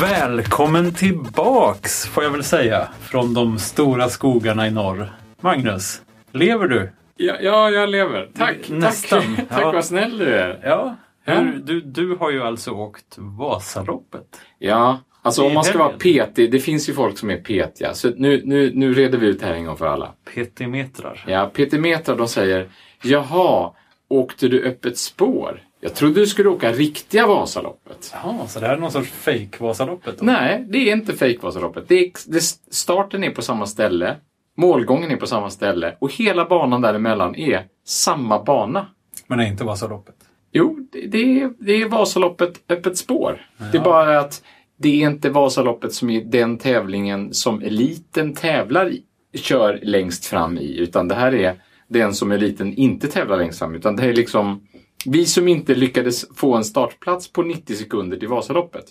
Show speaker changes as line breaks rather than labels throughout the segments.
Välkommen tillbaks får jag väl säga från de stora skogarna i norr. Magnus, lever du?
Ja, ja jag lever. Tack!
Nästan,
Tack,
ja.
tack vad snäll du är.
Ja.
Ja.
Hur, du, du har ju alltså åkt Vasaloppet.
Ja, alltså om man ska vara
Helgen.
petig. Det finns ju folk som är petiga. Så nu, nu, nu reder vi ut det här en gång för alla.
Petimetrar.
Ja, petimetrar de säger Jaha, åkte du öppet spår? Jag trodde du skulle åka riktiga Vasaloppet.
Jaha, så det här är någon sorts fake vasaloppet då?
Nej, det är inte fejkvasaloppet. Det är, ex- det, starten är på samma ställe, målgången är på samma ställe och hela banan däremellan är samma bana.
Men det är inte Vasaloppet.
Jo, det, det, är, det är Vasaloppet öppet spår. Det är bara att det är inte Vasaloppet som är den tävlingen som eliten tävlar i, kör längst fram i, utan det här är den som eliten inte tävlar längst fram utan det är liksom vi som inte lyckades få en startplats på 90 sekunder till Vasaloppet.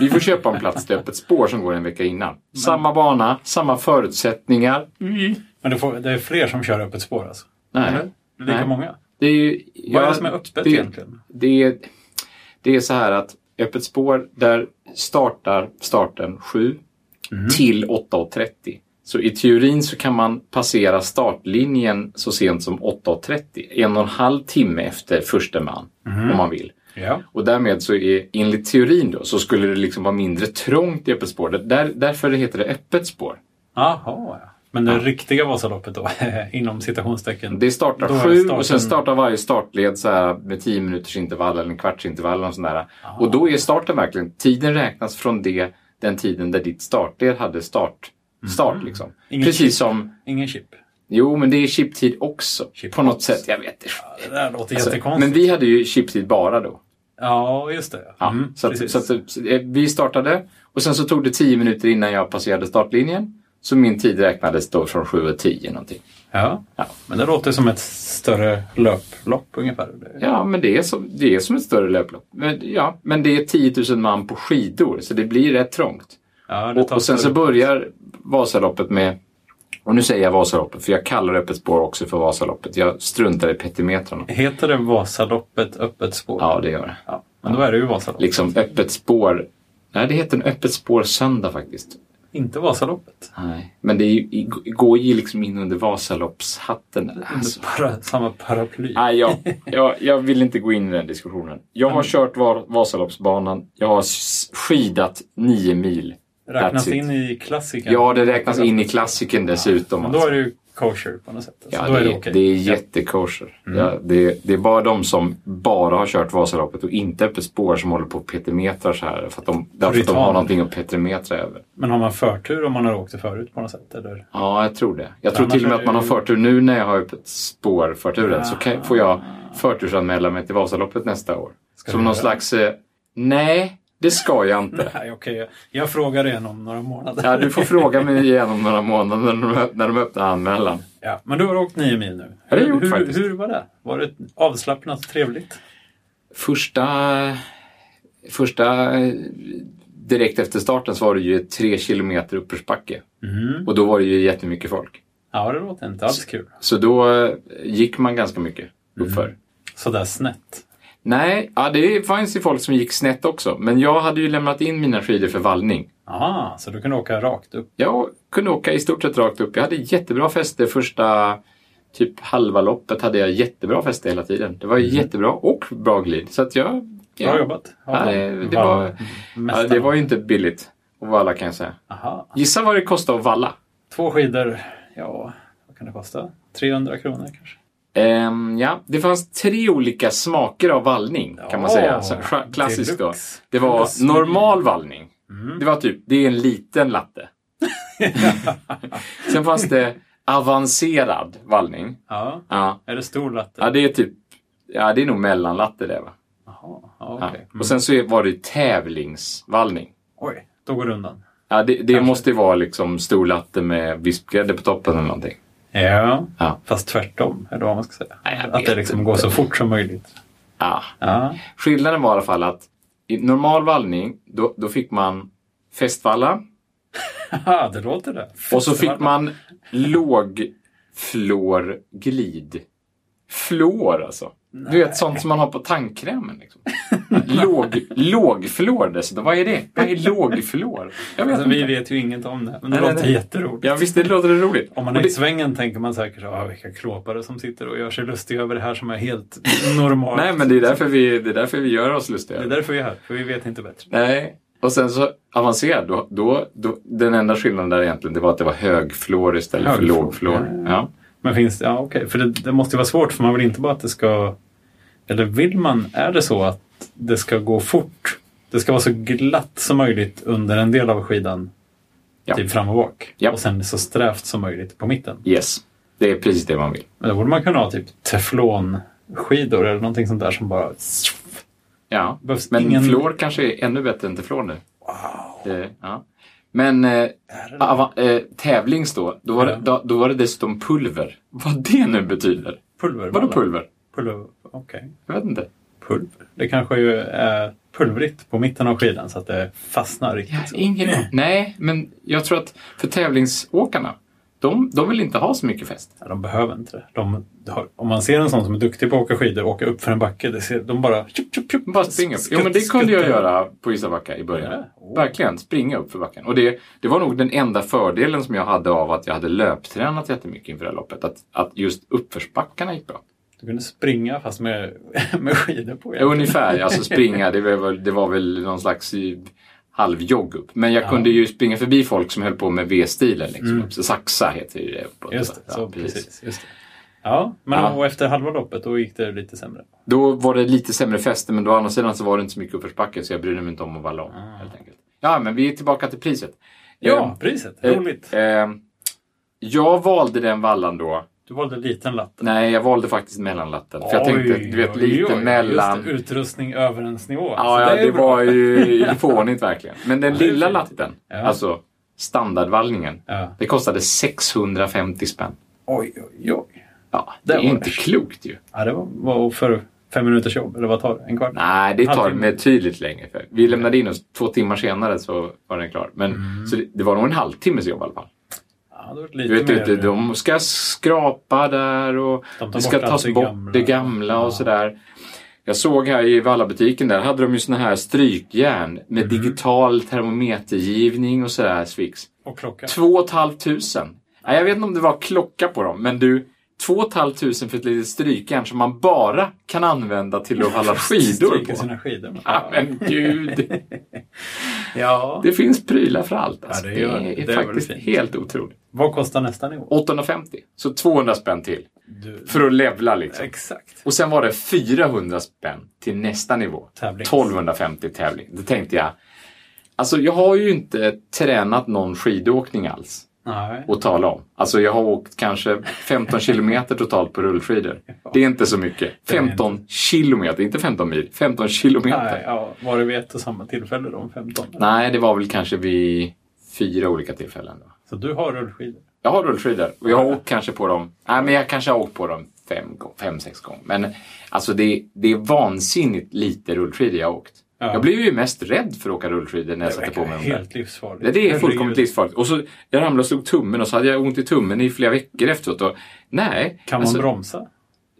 Vi får köpa en plats till Öppet spår som går en vecka innan. Samma bana, samma förutsättningar.
Men det, får, det är fler som kör öppet spår alltså?
Nej.
Eller? Lika
Nej.
många?
Det är ju,
Vad är
ja,
det som är öppet
det-
egentligen?
Det är, det är så här att Öppet spår, där startar starten 7
Mhm.
till 8.30. Så i teorin så kan man passera startlinjen så sent som 8.30, en och en halv timme efter första man,
Mhm.
om man vill.
Ja.
Och därmed så är, enligt teorin då, så skulle det liksom vara mindre trångt i öppet spår. Där, därför heter det öppet spår.
Jaha, ja. Men det riktiga Vasaloppet då, inom citationstecken?
Det startar
Då är
sju
starten-
och sen startar varje startled så här med 10 minuters intervall eller en kvarts intervall och sådär. Och då är starten verkligen, tiden räknas från det, den tiden där ditt startled hade start. Start liksom.
Mhm. Ingen chip.
Precis som,
Ingen chip?
jo men det är chiptid också.
Chip
på något
också.
sätt, jag vet inte.
Det där låter
Alltså,
jättekonstigt.
men vi hade ju chiptid bara då.
Ja, just det.
Ja,
Mm,
så att,
precis.
så att, så, eh, vi startade och sen så tog det 10 minuter innan jag passerade startlinjen. Så min tid räknades då från 7 och 10 någonting.
ja.
Ja.
men det låter som ett större löplopp ungefär. Det-
Ja, men det är som, det är som ett större löplopp. Men, ja, men det är 10 000 man på skidor, så det blir rätt trångt.
Ja, det
Och,
tar
och sen så
större-
börjar Vasaloppet med, och nu säger jag Vasaloppet, för jag kallar öppet spår också för Vasaloppet. Jag struntar i petimetrarna.
Heter det Vasaloppet öppet spår?
Ja, det gör det.
Ja, Men då är det ju Vasaloppet.
Liksom öppet spår. Nej, det heter en öppet spår söndag faktiskt.
Inte Vasaloppet.
Nej. Men det är ju, i- går ju liksom in under Vasaloppshatten. där, Alltså.
Para, samma paraply.
Nej, jag, jag, jag vill inte gå in i den diskussionen. Jag
Mm.
har kört var, Vasaloppsbanan. Jag har s- skidat nio mil.
Räknas
That's it.
in i klassikern?
Ja, det räknas in i klassiken dessutom.
Men då är
alltså.
det ju kosher på något sätt. Alltså,
Ja,
då är det,
det,
okej. Mm.
det är
Ja.
jättekosher. Ja, det, det är bara de som bara har kört Vasaloppet och inte Öppet spår som håller på och petimetrar så här. För att de, därför att de
Puritaner.
har någonting att petimetra över.
Men har man förtur om man har åkt det förut på något sätt? Eller?
Ja, jag tror det. Jag tror
annars
till och med
är
att man har
det ju-
förtur nu när jag har öppet spår-förturen. Så kan, får jag förtursanmäla mig till Vasaloppet nästa år.
Ah. Ska du
Som någon
göra?
slags... Eh, nej, det ska jag inte.
Nej, okej. Jag, jag frågar igen om några månader.
Ja, du får fråga mig igen om några månader när de, när de öppnar anmälan.
Ja, men du har åkt nio mil nu.
Ja, det har jag gjort
hur,
faktiskt.
hur var det? Var det avslappnat och trevligt?
Första, första... eh, Direkt efter starten så var det ju tre kilometer uppförsbacke.
Mhm.
Och då var det ju jättemycket folk.
Ja, det låter inte alls kul.
Så då eh, gick man ganska mycket uppför.
Mhm. Sådär snett.
Nej, ja, det fanns ju folk som gick snett också. Men jag hade ju lämnat in mina skidor för vallning.
Aha, så du kunde åka rakt upp.
Jag kunde åka i stort sett rakt upp. Jag hade jättebra fäste första typ halva loppet. hade jag jättebra fäste hela tiden. Det var jättebra och bra glid. Så att jag...
Bra
Mm. ja.
jobbat.
Ja, det, det, var, ja, det var ju inte billigt att valla kan jag säga.
Aha.
Gissa vad det kostade att valla.
Två skidor. Ja, vad kan det kosta? 300 kronor kanske?
Ehm, ja, det fanns tre olika smaker av vallning kan man
Ja,
säga. Så, scha- klassiskt då.
deluxe.
Det
Plus
var
ny.
normal vallning. Det var typ, det är en liten latte. Sen fanns det avancerad vallning.
Ja.
Ja,
Är det stor latte?
ja det är typ, ja det är nog mellanlatte det va.
Jaha, ja,
Ja.
okej. Mm.
Och sen så är- var det tävlingsvallning.
Oj, då går det undan.
Ja, det, det måste ju vara liksom stor latte med vispgrädde på toppen eller någonting.
Ja.
Ja.
fast tvärtom, eller vad man ska säga.
Nej, jag
Att det
vet
liksom
inte.
går så fort som möjligt.
Ja.
Ja.
Skillnaden var i alla fall att i normal vallning, då, då fick man festvalla
Haha, det låter det.
och så fick man lågflorglid. Flor alltså. Du vet sånt som man har på tandkrämen. Liksom. Låg, lågflår dessutom. Vad är det? Vad är lågflår? Jag vet
Alltså, vi
inte.
vet ju inget om det, men det
Nej, nej,
låter
nej.
jätteroligt.
Ja, visst det låter det roligt?
Om man
Och
är i
det,
svängen tänker man säkert så, ah, vilka klåpare som sitter och gör sig lustiga över det här som är helt normalt.
nej, men det är, därför vi, det är därför vi gör oss lustiga.
Det är därför vi är här, för vi vet inte bättre.
Nej. Och sen så avancerad, då, då, då, den enda skillnaden där egentligen det var att det var högflor istället för
Högflor,
lågflor.
ja.
Ja.
Men finns det, ja okej, för det, det måste ju vara svårt för man vill inte bara att det ska, eller vill man, är det så att det ska gå fort? Det ska vara så glatt som möjligt under en del av skidan,
Ja.
typ fram och bak.
Ja.
Och sen så strävt som möjligt på mitten.
Yes, det är precis det man vill.
Men då borde man kunna ha typ teflonskidor eller någonting sånt där som bara...
Ja.
Behövs
Men
ingen...
fluor kanske är ännu bättre än teflon nu. Wow. ja. Men eh, ava- eh, tävlings då, då var, det,
Ja.
då, då var det dessutom pulver. Vad det nu betyder?
Pulver?
Vadå pulver?
Pulver, okej.
Jag vet inte.
Pulver? Det kanske ju är pulvrigt på mitten av skidan så att det fastnar
Ja,
riktigt.
ingen Nej, men jag tror att för tävlingsåkarna, de, de vill inte ha så mycket fest.
Ja, De behöver inte det. De, de har, om man ser en sån som är duktig på att åka skidor och åka upp för en backe, det ser, de bara... Tjup, tjup, tjup,
De Bara springa upp. Jo, men det kunde jag göra på Isabacka i början.
Ja, Oh. åh.
Verkligen, springa upp för backen. Och det, det var nog den enda fördelen som jag hade av att jag hade löptränat jättemycket inför det här loppet. Att, att just uppförsbackarna gick bra.
Du kunde springa fast med, med skidor på.
Ja, Ungefär, alltså springa, det var, väl- det var väl någon slags i- halvjogg upp. Men jag kunde ju springa förbi folk som höll på med V-stilen. Liksom. Så Saxa heter ju det. uppåt.
Mm. Just det, så
Ja,
precis. Just det. Ja, men
Ja.
Och efter halva loppet då gick det lite sämre.
Då var det lite sämre fäste, men å andra sidan så var det inte så mycket uppförsbacke så jag brydde mig inte om att vara lång. Helt enkelt. Ja, men vi är tillbaka till priset.
Ah. Ja, priset.
Eh,
Roligt.
eh, jag valde den vallan då.
Du valde liten lapp.
Nej, jag valde faktiskt mellanlatten. För jag tänkte,
Oj,
du vet,
oj,
lite
oj, just
mellan...
det, utrustning överensnivå.
Ja, ja, Alltså, det var ju fånigt verkligen. Men den
Ja, det är
lilla
fint.
latten,
Ja.
alltså standardvallningen,
Ja.
det kostade 650 spänn.
Oj, oj, oj.
Ja, det,
Det
är
var
inte
det.
klokt ju.
Ja, det var, var för fem minuters jobb, eller vad tar det? En kvart?
Nej, det tar
Halvtimme.
med tydligt längre. För vi lämnade in oss två timmar senare så var den klar. Men, Så det, det var nog en halvtimmes jobb i alla fall.
Ja, det var lite
Du vet
mer.
inte, de ska skrapa där och
De tar
det ska
bort
tas
allt det
bort
gamla.
det gamla och
Ja.
sådär. Jag såg här i Vallabutiken, där hade de ju såna här strykjärn med digital termometergivning och sådär svix.
Och klocka.
Två och ett halvt tusen. Nej, jag vet inte om det var klocka på dem, men du, två och ett halvt tusen för ett litet strykjärn som man bara kan använda till att hålla skidor
Stryker
på.
sina skidor. med.
Ja, men gud.
Ja.
Det finns prylar för allt. Alltså.
Ja, det
det,
gör
är,
det. Det är väl
faktiskt
fint.
helt otroligt.
Vad kostar nästa nivå?
850, så 200 spänn till.
Du...
För att levla liksom.
Exakt.
Och sen var det 400 spänn till nästa nivå.
Tävlings.
1250 tävling. Då tänkte jag, alltså jag har ju inte tränat någon skidåkning alls
Nej.
att tala om. Alltså jag har åkt kanske 15 kilometer totalt på rullskidor. Det är inte så mycket.
Det är inte.
15 kilometer, inte 15 mil. 15 kilometer.
Nej, ja, var det vid ett och samma tillfälle då, om 15?
Nej, det var väl kanske vid fyra olika tillfällen. Då.
Så du har rullskidor?
Jag har rullskidor och jag har åkt kanske på dem. Nej, men jag kanske har åkt på dem fem, gång- fem sex gånger. Men alltså det, det är vansinnigt lite rullskidor jag har åkt.
Ja.
Jag blev ju mest rädd för att åka rullskidor när jag satte på
verkar
mig dem. där.
helt livsfarligt.
Det, det är fullkomligt
Herregud.
livsfarligt. Och så, jag ramlade och slog tummen och så hade jag ont i tummen i flera veckor efteråt. Och, nej.
Kan man
alltså,
bromsa?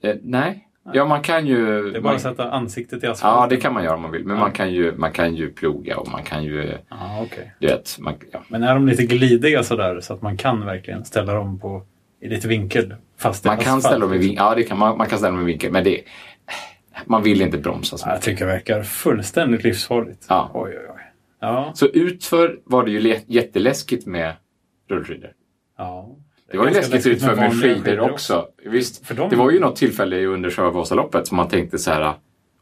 eh, nej. Ja, man kan ju...
Det är bara
man,
att sätta ansiktet i asfalten?
ja, det kan man göra om man vill. Men man, kan ju, man kan ju ploga och man kan ju...
Ja, okej.
Du vet, man, ja.
Men är de lite glidiga sådär så att man kan verkligen ställa dem på, i lite vinkel? Fast i
Man kan
asfalt? liksom?
ställa dem i vinkel. Ja, det kan man. Man kan ställa dem i vinkel. Men det, man vill inte bromsa så
Ja, Jag
mycket.
tycker det verkar fullständigt livsfarligt.
Ja.
Oj, oj, oj. Ja.
Så utför var det ju le- jätteläskigt med rullskidor.
ja.
Det var ju
ganska
läskigt utför med
vanliga
skidor också. Visst,
För de-
det var ju något tillfälle under Sjöö Vasaloppet som man tänkte så här,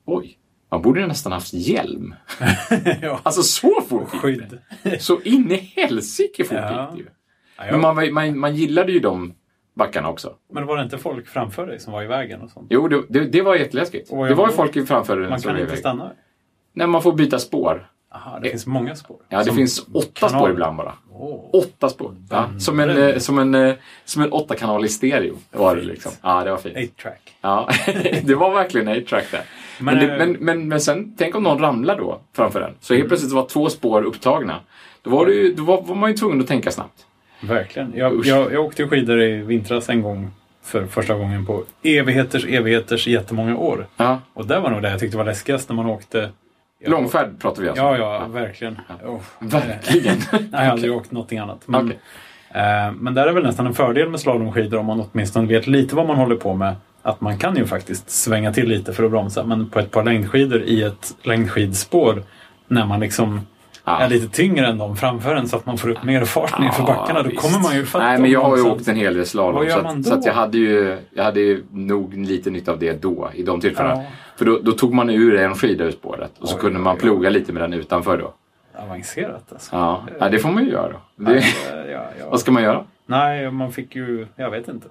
oj, man borde ju nästan haft hjälm.
ja.
Alltså så fort gick det.
Skydd.
Så in i helsike fort
Ja.
gick det ju.
Ja,
Men
ja.
man, var ju- man, man gillade ju de backarna också.
Men var det inte folk framför dig som var i vägen och sånt?
Jo, det, det, det var jätteläskigt.
Och jag
Det var ju
var-
folk framför en
Man
som
kan
blev
inte
iväg.
stanna?
Nej, man får byta spår.
Aha, det finns många spår.
Ja, det
Som
finns åtta
kanal.
spår ibland bara.
Åh.
Åtta spår. Ja, som, en, eh, som, en, eh, som en åttakanalig stereo var det
Fint.
liksom. Ja, det var fint.
8-track.
Ja, det var verkligen en track där. Men,
Men,
det,
eh, Mm.
men, men, men sen, tänk om någon ramlar då framför den. Så helt plötsligt var två spår upptagna. Då var, det ju, då var, var man ju tvungen att tänka snabbt.
Verkligen.
Usch.
Jag, jag, jag åkte ju skidor i vintras en gång för första gången på evigheters evigheters jättemånga år.
Ja.
Och det var nog det jag tyckte var läskigast när man åkte.
Långfärd pratar vi alltså
Ja, ja, verkligen. Oh.
Verkligen.
Nej, jag har aldrig åkt någonting annat. Men,
Okej.
eh, men där är väl nästan en fördel med slalomskidor om man åtminstone vet lite vad man håller på med. Att man kan ju faktiskt svänga till lite för att bromsa. Men på ett par längdskidor i ett längdskidspår när man liksom
Ja.
är lite tyngre än de framför en så att man får upp mer fart nerför
Ja,
backarna. Då
visst.
kommer man ju fatta
Nej, men jag har ju
långsamt.
åkt en hel del slalom.
Vad gör
så att,
man då?
Så att jag, hade ju, jag hade ju nog lite nytta av det då, i de tillfällena.
Ja.
För då, då tog man ur en skida ur spåret och så
Oj,
kunde man
oj, oj.
ploga lite med den utanför då.
Avancerat alltså.
Ja, ja det får man ju göra då. Det,
Eh, ja, ja.
vad ska man göra?
Nej, man fick ju... Jag vet inte.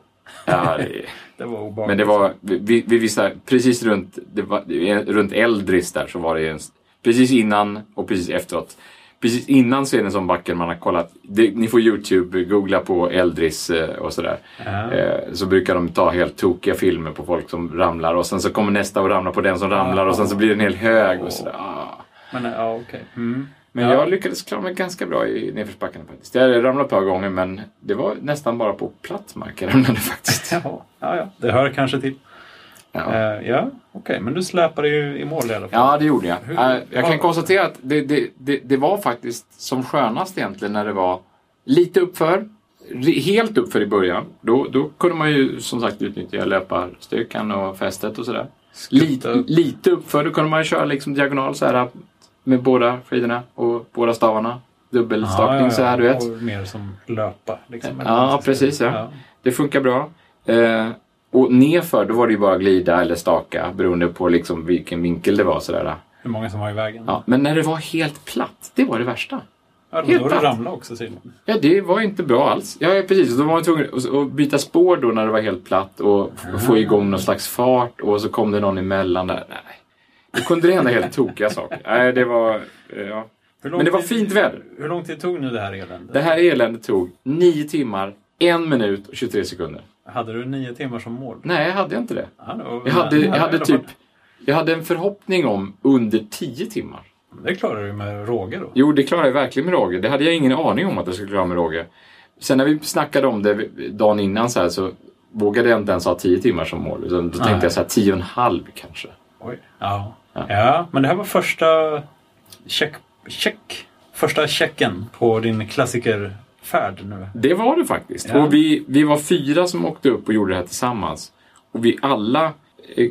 Ja, det,
Det var obehagligt.
men det var vid, vid vissa, precis runt, det var, det är runt Eldris där så var det en, precis innan och precis efteråt. Precis innan så är det en sån backe man har kollat. Det, ni får Youtube, googla på Eldris eh, och sådär.
Ja.
Eh, Så brukar de ta helt tokiga filmer på folk som ramlar och sen så kommer nästa och ramlar på den som ramlar och sen så blir det en hel hög och sådär. Ah.
Men, eh, ja, okej. Mm.
Men
Ja.
jag lyckades klara mig ganska bra i nedförsbackarna faktiskt. Jag hade ramlat ett par gånger men det var nästan bara på platt mark jag ramlade faktiskt.
Jaha. Ja, ja. Det hör kanske till.
Ja.
Eh, ja, okej. Men du släpade ju i mål i alla fall.
Ja, det gjorde jag.
Hur-
Eh, Jag kan
vad-
konstatera att det, det, det, det var faktiskt som skönast egentligen när det var lite uppför, ri- helt uppför i början. Då, då kunde man ju som sagt utnyttja löparstyrkan och fästet och sådär. Lite,
upp.
lite uppför, då kunde man ju köra liksom diagonal så här med båda skidorna och båda stavarna. Dubbelstakning så här, du vet.
Och mer som löpa. Liksom.
Ja, precis. Ja. Det funkar bra. Eh, och nerför, då var det ju bara glida eller staka beroende på liksom vilken vinkel det var. Sådär. äh.
Hur många som var i vägen.
Ja, men när det var helt platt, det var det värsta.
Ja, då
Helt
har du
platt.
ramlat också tydligen.
Ja, det var inte bra alls. Ja, ja, precis. Då var man tvungen att- att byta spår då när det var helt platt och f- få igång någon slags fart och så kom det någon emellan där. Nej. Då kunde det hända helt tokiga saker. Nej, det var... eh, Ja.
Hur lång
Men det var
tid-
fint väder.
Hur lång tid tog nu det här eländet?
Det här eländet tog 9 timmar, 1 minut och 23 sekunder.
Hade du nio timmar som mål?
Nej, jag hade inte det.
Ja, det var väl
Jag hade,
nära
jag
i
hade
alla
typ...
fall.
Jag hade en förhoppning om under 10 timmar.
Det klarar du med råge då.
Jo, det klarade jag verkligen med råge. Det hade jag ingen aning om att jag skulle klara med råge. Sen när vi snackade om det dagen innan så, här, så vågade jag inte ens ha 10 timmar som mål. Utan då
Nej.
tänkte jag så här, 10 och en halv kanske.
Oj. Ja.
Ja.
Ja. men det här var första check, check, första checken på din klassikerfärd nu.
Det var det faktiskt.
Ja.
Och vi, vi var fyra som åkte upp och gjorde det här tillsammans. Och vi alla eh,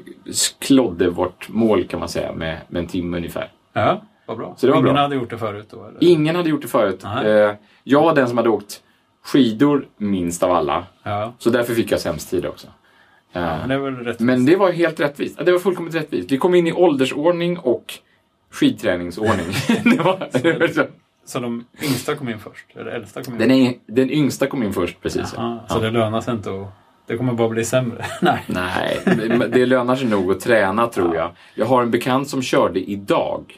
klodde vårt mål kan man säga med, med en timme ungefär.
Ja, vad bra.
Så det var
Ingen
bra.
hade gjort det förut då? Eller?
Ingen hade gjort det förut.
Nej.
Eh, Jag var den som hade åkt skidor minst av alla.
Ja,
Så därför fick jag sämst tid också. Eh,
men det är väl rätt.
Men det var helt rättvist. Ja, Det var fullkomligt rättvist. Vi kom in i åldersordning och skidträningsordning. det var, det var så.
Så de yngsta kom in först? Eller äldsta kom in?
Den, är, den yngsta kom in först precis. ja.
Aha, så det lönar sig inte att... Det kommer bara bli sämre? Nej.
Nej, men det lönar sig nog att träna tror jag. Jag har en bekant som körde idag.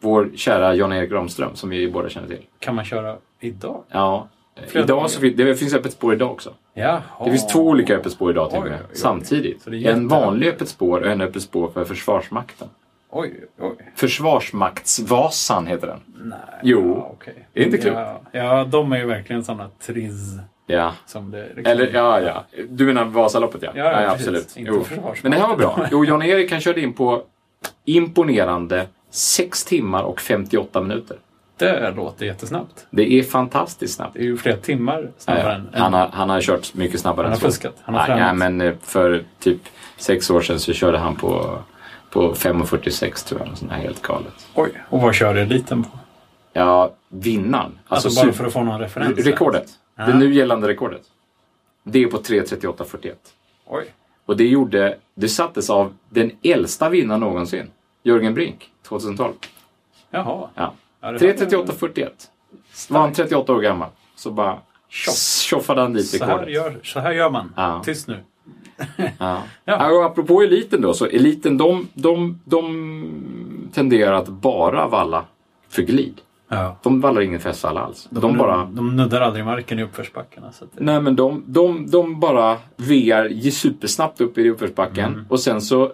Vår kära Jan-Erik Ramström som vi båda känner till.
Kan man köra idag?
Ja.
Flera dagar.
Idag så finns, det finns öppet spår idag också.
Jaha.
Det finns två olika öppet spår idag till och
Oj,
med.
oj, oj.
Samtidigt.
Så det är jätte-
En vanlig öppet spår och en öppet spår för Försvarsmakten.
Oj, oj.
Försvarsmaktsvasan heter den.
Nej.
Jo.
Ja, okej.
Det är inte klokt.
Ja, ja, de är ju verkligen sådana triz
Ja.
som det... liksom
Eller ja, ja. Du menar Vasaloppet ja?
Ja, ja, precis.
absolut.
Inte
Jo.
försvarsmakt.
Men det här var bra. Jo, Jan-Erik han körde in på imponerande 6 timmar och 58 minuter.
Det låter jättesnabbt.
Det är fantastiskt snabbt.
Det är ju flera timmar snabbare än...
Han har, han har kört mycket snabbare
Han
än
har
så.
fuskat. Han har
Nej,
tränat.
nej, men eh, för typ sex år sedan så körde han på, på 5.46 tror jag. Sån här helt galet.
Oj, och vad kör eliten på?
Alltså, Ja, vinnaren.
Alltså, bara för att få någon referens.
Rekordet. Det nu gällande rekordet. Det är på 3.38.41.
Oj.
Och det gjorde, det sattes av den äldsta vinnaren någonsin. Jörgen Brink, 2012.
Jaha.
Ja.
Ja, det var-
3.38,41. Var han 38 år gammal. Så bara
Tjoff.
tjoffade han dit
Så här,
rekordet.
gör, så här gör man.
Ja.
Tyst nu.
Ja.
Ja.
Ja. Och apropå eliten då, så eliten de, de, de tenderar att bara valla för glid.
Ja.
De vallar ingen fästvalla alls. De, bara... Mm.
de nuddar aldrig marken i uppförsbackarna. Så att det,
Nej men de, de, de bara VR ger supersnabbt upp i uppförsbacken
Mm.
och sen så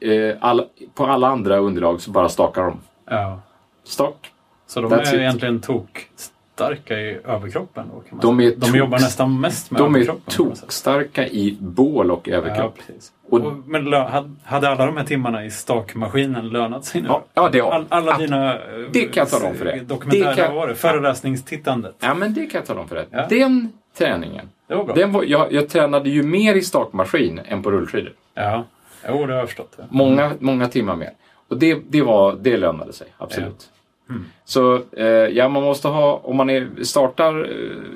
eh, alla, på alla andra underlag så bara stakar de.
ja.
Stak,
Så de
That's
är
it.
egentligen tok tokstarka i överkroppen. Då, kan man
De
säga.
är
de
toks-
jobbar nästan mest med
De är
överkroppen. på något sätt.
tokstarka i bål och överkropp.
Ja, precis.
Och-
Och, men lö- had- hade alla de här timmarna i stakmaskinen lönat sig nu?
Ja, ja, det har
All, alla
att-
dina eh,
det kan jag tala om för dig.
dokumentärer,
Det kan-
vad var det? Föreläsningstittandet.
Ja, men det kan jag tala om för dig.
Ja.
Den träningen.
Det var bra.
Den var, jag, jag tränade ju mer i stakmaskin än på rullskidor.
Ja, jo, det har jag förstått. Ja.
Många, många timmar mer. Och det, det, var, det lönade sig, absolut.
Mm.
Så eh, ja, man måste ha, om man är, startar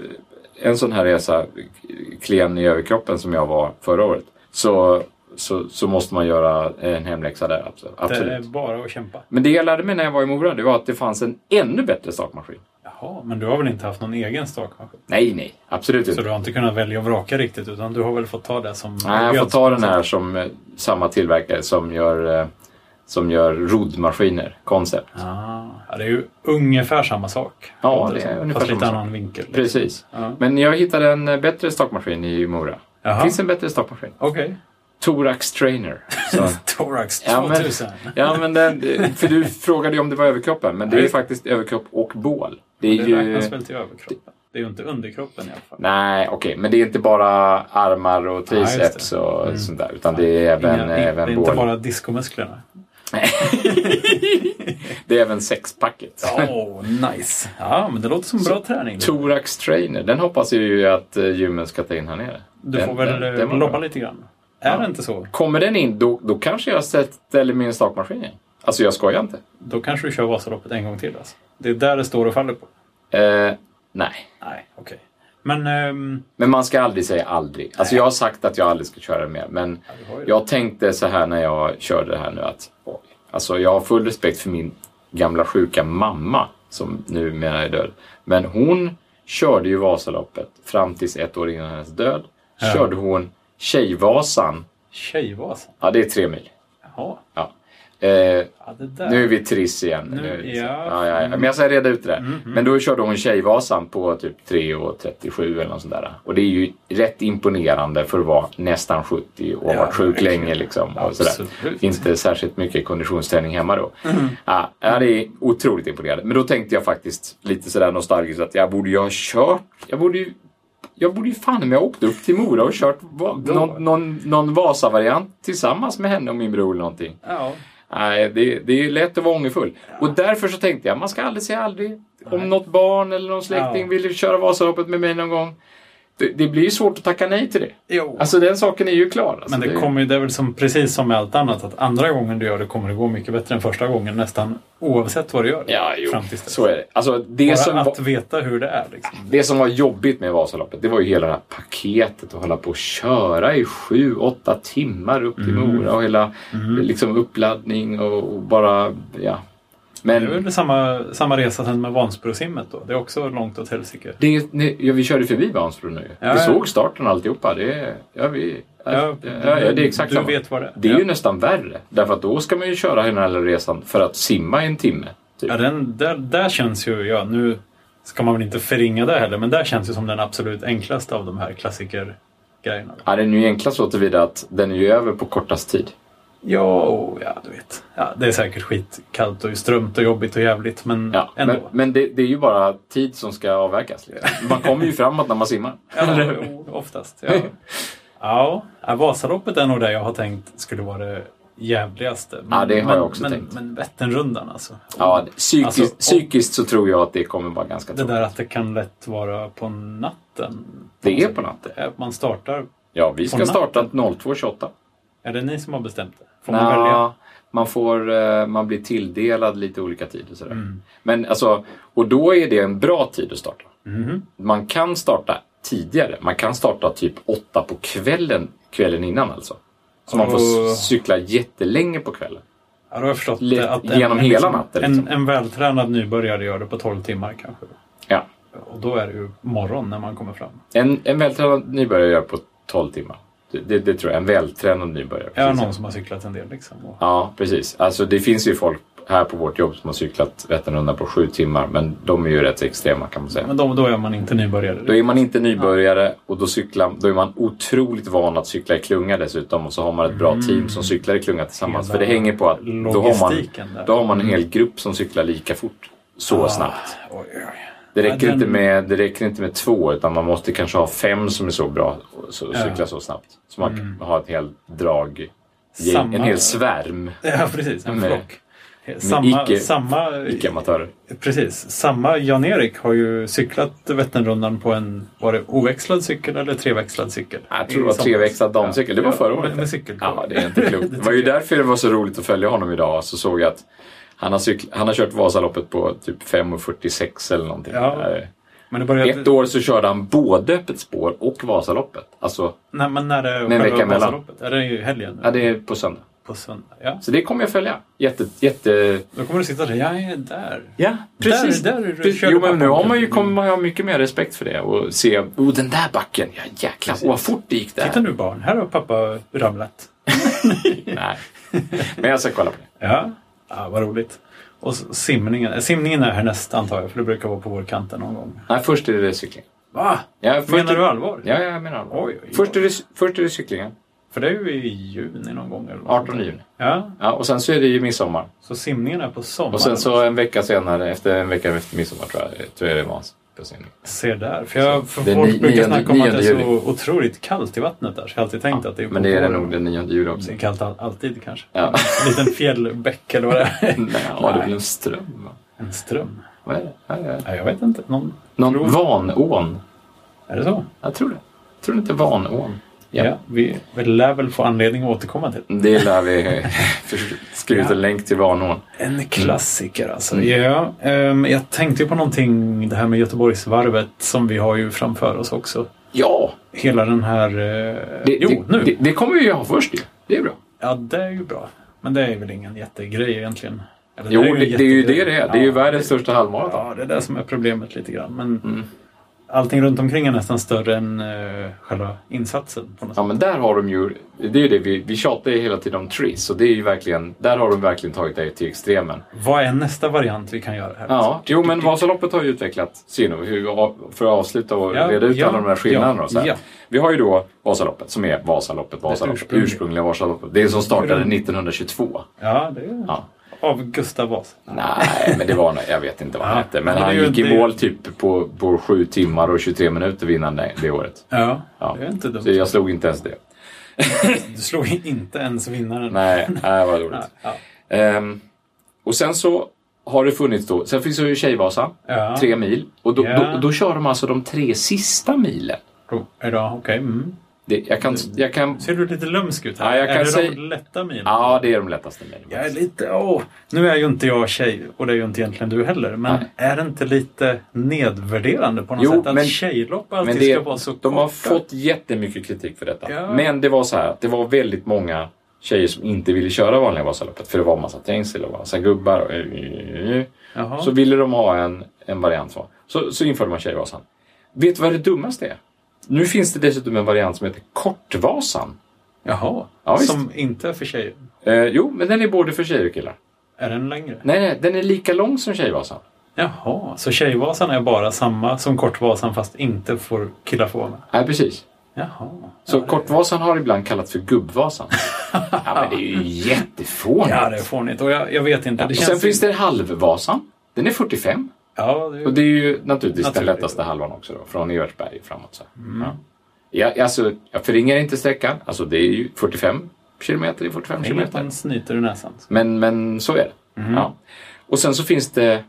eh, en sån här resa eh, klen i överkroppen som jag var förra året. Så, så, så måste man göra en hemläxa där, abso- absolut.
Det är bara att kämpa.
Men det jag lärde mig när jag var i Mora, det var att det fanns en ännu bättre stakmaskin.
Jaha, men du har väl inte haft någon egen stakmaskin?
Nej, nej, absolut
Så
inte.
du har inte kunnat välja och vraka riktigt utan du har väl fått ta det som...
Nej, jag får ta den här som eh, samma tillverkare som gör, eh, som gör roddmaskiner, Concept.
Ah, ja, det är ju ungefär samma sak.
Ja,
Låter
det är
som.
ungefär
Fast
samma
lite
sak.
annan vinkel.
Precis.
Ja.
Men jag hittade en eh, bättre stakmaskin i Mora.
Jaha.
finns en bättre stakmaskin.
Okej.
Thorax Trainer. Så.
Thorax
Ja, men-
2000.
ja, men den, för du frågade ju om det var överkroppen, men det är ju
Nej.
faktiskt överkropp och bål. Det är
Det
ju...
räknas väl till överkroppen? Det är ju inte underkroppen i alla fall.
Nej, okej, men det är inte bara armar och
Nej, just det. Mm.
triceps och sånt där, utan det är även,
Inga- det
även
är inte
bål.
bara diskomusklerna.
Det är även sexpacket.
Oh, nice! Ja, men det låter som bra träning.
Thorax Trainer, den hoppas jag ju att eh, gymmen ska ta in här nere.
Du
den,
får väl
den-
eh,
den var
loppa
bra.
lite grann. Är det inte så,
Kommer den in, då, då kanske jag ställer min stakmaskin igen. Alltså, jag skojar inte.
då kanske du kör Vasaloppet en gång till. Alltså. Det är där det står och faller på.
Eh, nej,
Nej, okej. Men ehm,
men man ska aldrig säga aldrig. Alltså jag har sagt att jag aldrig ska köra mer, men
du har ju det.
jag tänkte så här när jag körde det här nu att oj, alltså jag har full respekt för min gamla sjuka mamma som numera är död. Men hon körde ju Vasaloppet fram tills ett år innan hennes död.
Ja.
Körde hon Tjejvasan,
Tjejvasan?
ja det är tre mil.
Jaha.
Ja. Eh,
Ja, det där.
Nu är vi triss igen.
Nu-
är vi triss.
ja. Mm-hmm.
Ja, ja, ja. Men jag ska reda ut det där. Men då körde hon Tjejvasan på typ 3.37 eller något sånt där. Och det är ju rätt imponerande för att vara nästan 70 och ha
Ja,
varit sjuk
verkligen.
länge. Liksom, och sådär.
Absolut. Mm-hmm.
Inte särskilt mycket konditionsträning hemma då. Ja, ja, det är otroligt imponerande. Men då tänkte jag faktiskt lite sådär nostalgiskt att jag borde ju ha kört. Jag borde ju jag borde ju fan om jag åkt upp till Mora och kört va-
Då.
någon, någon, någon Vasa-variant tillsammans med henne och min bror eller någonting.
Ja,
Nej, det, det är ju lätt att vara ångerfull. Och därför så tänkte jag, man ska aldrig säga aldrig. Om något barn eller någon släkting
Ja.
vill köra Vasaloppet med mig någon gång. Det, det blir ju svårt att tacka nej till det.
jo.
Alltså den saken är ju klar. Alltså,
men det, kommer ju, det är väl som, precis som med allt annat att andra gången du gör det kommer det gå mycket bättre än första gången nästan oavsett vad du gör.
Ja, jo.
Fram tills dess.
Så är det. Alltså det
Bara
som, var,
att veta hur det är. Liksom.
det som var jobbigt med Vasaloppet, det var ju hela det här paketet att hålla på och köra i sju, åtta timmar upp till
Mm.
Mora och hela liksom, uppladdning och, och bara, ja. Men,
Det är väl samma, samma resa sen med Vansbrosimmet då. Det är också långt åt helsike.
Det, är- nej, ja, vi körde förbi Vansbro nu.
Ja, ja.
vi såg starten och alltihopa. Det, är- ja, vi, ja, ja, ja, det är exakt
du
samma.
vet vad det är.
Det är
ja.
ju nästan värre. Därför att då ska man ju köra hela den här resan för att simma i en timme. Typ.
Ja, den, där, där känns ju, ja, nu ska man väl inte förringa det heller, men där känns ju som den absolut enklaste av de här klassikergrejerna.
Ja, den är ju enklast så tillvida att den är ju över på kortast tid.
Ja, och, ja, du vet. Ja, det är säkert skitkallt och strömt och jobbigt och jävligt, men
Ja,
ändå.
men men det, det är ju bara tid som ska avverkas. liksom. Man kommer ju framåt när man simmar.
Ja, jo, oftast. Ja. ja, ja, Vasaloppet är nog det jag har tänkt skulle vara det jävligaste. Men,
Ja, det har
men,
jag också
men,
tänkt.
Men Vätternrundan alltså.
Ja, psykiskt,
Alltså, och-
psykiskt så tror jag att det kommer vara ganska
Det
tråkigt.
där att det kan lätt vara på natten. Äh,
Det är på natten.
Man startar.
Ja, vi
På
ska starta 02.28.
Är det ni som har bestämt det? Får man välja?
Nja, man, får, eh, man blir tilldelad lite olika tid och sådär. Men alltså, och då är det en bra tid att starta.
Mhm.
Man kan starta tidigare. Man kan starta typ åtta på kvällen, kvällen innan alltså. Så man får
Oh.
s- cykla jättelänge på kvällen.
Ja, då har jag förstått
Lite
det. Att
genom hela natten, liksom.
En, en vältränad nybörjare gör det på 12 timmar kanske.
Ja.
Och då är det ju morgon när man kommer fram.
En, en vältränad nybörjare gör på 12 timmar. Det, det, det tror jag. En vältränad nybörjare.
Är det
precis.
någon som har cyklat en del liksom? Och,
Ja, precis. Alltså det finns ju folk här på vårt jobb som har cyklat Vätternrundan på sju timmar. Men de är ju rätt extrema kan man säga.
men då, då är man inte nybörjare.
Då är man inte nybörjare och då, cyklar, då är man otroligt van att cykla i klunga dessutom och så har man ett bra team som cyklar i klunga tillsammans.
Mm. Hela
För det hänger på att då har, man,
logistiken där. Mm.
då har man en hel grupp som cyklar lika fort. Så snabbt.
Ah, Oj, oj.
Det räcker,
den-
inte med, det räcker inte med två utan man måste kanske ha fem som är så bra och så,
Ja. Mm.
cykla så snabbt. Så man kan ha ett helt drag,
Samma-
en hel svärm
Ja, precis. En
Nej.
flock. Samma,
icke-
samma,
icke-amatörer.
precis. samma Jan-Erik har ju cyklat Vätternrundan på en var det oväxlad cykel eller treväxlad cykel.
Jag tror det
I
var
somras.
treväxlad damcykel. Det var
Ja,
förra året.
Med, med cykel.
Ja, det är inte klokt. Det var ju därför det var så roligt att följa honom idag. Så såg jag att han har, cykl- han har kört Vasaloppet på typ 5.46 eller någonting.
Ja.
Eh,
Men det började,
Ett år så körde han både Öppet spår och Vasaloppet. Alltså,
Nej, men när det är
en vecka emellan.
Vasaloppet. Ja, det är ju helgen nu.
ja, det är på söndag.
På söndag. Ja.
Så det kommer jag följa. Jätte, jätte...
Då kommer du sitta där. Jag är där.
Ja,
precis. Där- där är du- körde
jo, men nu
pappan.
har man ju, kommer man ha mycket mer respekt för det och se, oh den där backen, ja jäklar, Åh, vad fort det gick där.
Titta nu barn, här har pappa ramlat.
Nej, men jag ska kolla på det.
Ja, ja vad roligt. Och så simningen. eh, Simningen är härnäst antar jag, för det brukar vara på vårkanten någon gång.
Nej, först är det cykling.
Va?
Ja, först
Menar
är...
du allvar?
Ja, jag menar allvar.
Oj, oj, oj.
Först är det, först är det cyklingen,
För det är ju i juni någon gång. Eller något.
18 juni.
Ja,
Ja, och sen så är det ju midsommar.
så simningen är på sommaren.
Och sen så en vecka senare, efter en vecka efter midsommar tror jag, tror jag det är Vans. på simning.
Se där. För, jag, för
Det är
folk
ni-
brukar
nionde-
snacka om att det är
nionde juli.
så otroligt kallt i vattnet där. Så jag har alltid tänkt att det är på
Men det är det
våren.
nog den 9 juli också.
Det är kallt all, alltid kanske.
Ja.
En liten fjällbäck eller vad det är.
Nej, ja, det är väl en ström? va?
En ström.
Vad är det? Ja, ja.
Ja, jag vet inte. Någon...
Någon Vanån?
Är det så?
Jag tror det. Jag tror det inte Vanån.
Ja. vi, vi lär väl få anledning att återkomma till.
Det lär vi för- skriva ut en länk till Vanån.
En klassiker alltså.
Mm.
Ja, ehm, jag tänkte ju på någonting, det här med Göteborgsvarvet som vi har ju framför oss också.
Ja,
Hela den här... eh,
det,
jo,
det,
nu!
Det, det kommer vi ju ha först ju. Det är bra.
Ja, det är ju bra. Men det är väl ingen jättegrej egentligen. Eller,
Jo,
en
det, det är ju det
jättegrej.
det är. Det är ju
Ja.
världens största halvmaraton.
Ja, det är det som är problemet lite grann. Men
Mm.
allting runt omkring är nästan större än eh, själva insatsen. På något
Ja,
sätt.
men där har de ju... Det är ju det vi, vi tjatar ju hela tiden om Trees och det är ju verkligen... Där har de verkligen tagit det till extremen.
Vad är nästa variant vi kan göra här?
Ja, jo men Vasaloppet har ju utvecklat sin och hur- för att avsluta och
Ja,
reda ut
ja,
alla de här skillnaderna. och så här.
ja.
Vi har ju då Vasaloppet som är Vasaloppet, Vasaloppet,
ursprungliga.
ursprungliga. Vasaloppet. Det är som startade 1922.
Ja, det är...
Ja.
Av Gustav Vasa.
Nej, men det var nog- jag vet inte vad han
Ja,
hette.
men
Men
det är
han
ju-
gick
det
i
är ju-
mål typ på, på 7 timmar och 23 minuter innan det, det året.
Ja,
Ja.
det är inte dumt.
Så jag slog inte ens det.
Du slog inte ens vinnaren.
Nej, nej vad roligt.
Ja.
Ehm, och sen så har det funnits då, sen finns det ju Tjejvasan,
Ja.
tre mil. Och då,
Ja.
då, då kör de alltså de tre sista milen.
Ro- Är det, okej. Mm.
Det, jag kan... Jag kan
Ser du lite lömsk ut här?
Ja, jag kan
är det
säga-
de lätta milen?
ja, det är de lättaste milen.
Jag är lite, åh, nu är ju inte jag tjej och det är ju inte egentligen du heller. Men
Nej.
är det inte lite nedvärderande på något
Jo,
sätt att
men-
tjejlopp
Men
alltid
det,
ska vara så
de har
korta?
fått jättemycket kritik för detta.
Ja.
Men det var så här att det var väldigt många tjejer som inte ville köra vanliga Vasaloppet för det var massa trängsel och massa gubbar. Och,
Jaha.
så ville de ha en, en variant. Så, så, så införde man Tjejvasan. Vet du vad det dummaste är? Nu finns det dessutom en variant som heter Kortvasan.
Jaha.
Ja, visst.
som inte är för tjejer.
Eh, jo, men den är både för tjejer och killar.
Är den längre?
Nej, nej, den är lika lång som Tjejvasan.
Jaha, så Tjejvasan är bara samma som Kortvasan fast inte får killar får vara med?
Nej, precis.
Jaha.
Så Kortvasan har ibland kallats för Gubbvasan. ja, men det är ju jättefånigt.
Ja, det är fånigt. Och jag, jag vet inte.
Ja,
det
och
känns
sen finns det Halvvasan. Den är 45.
Ja, det är ju...
Och det är ju naturligtvis den
Naturligt.
lättaste halvan också då, från Evertsberg framåt. Så. här.
Mm.
Ja. Jag, alltså, jag förringar inte sträckan. Alltså det är ju 45 kilometer i 45 kilometer.
Inget snyter i näsan.
Men, men så är det.
Mhm.
Ja. Och sen så finns det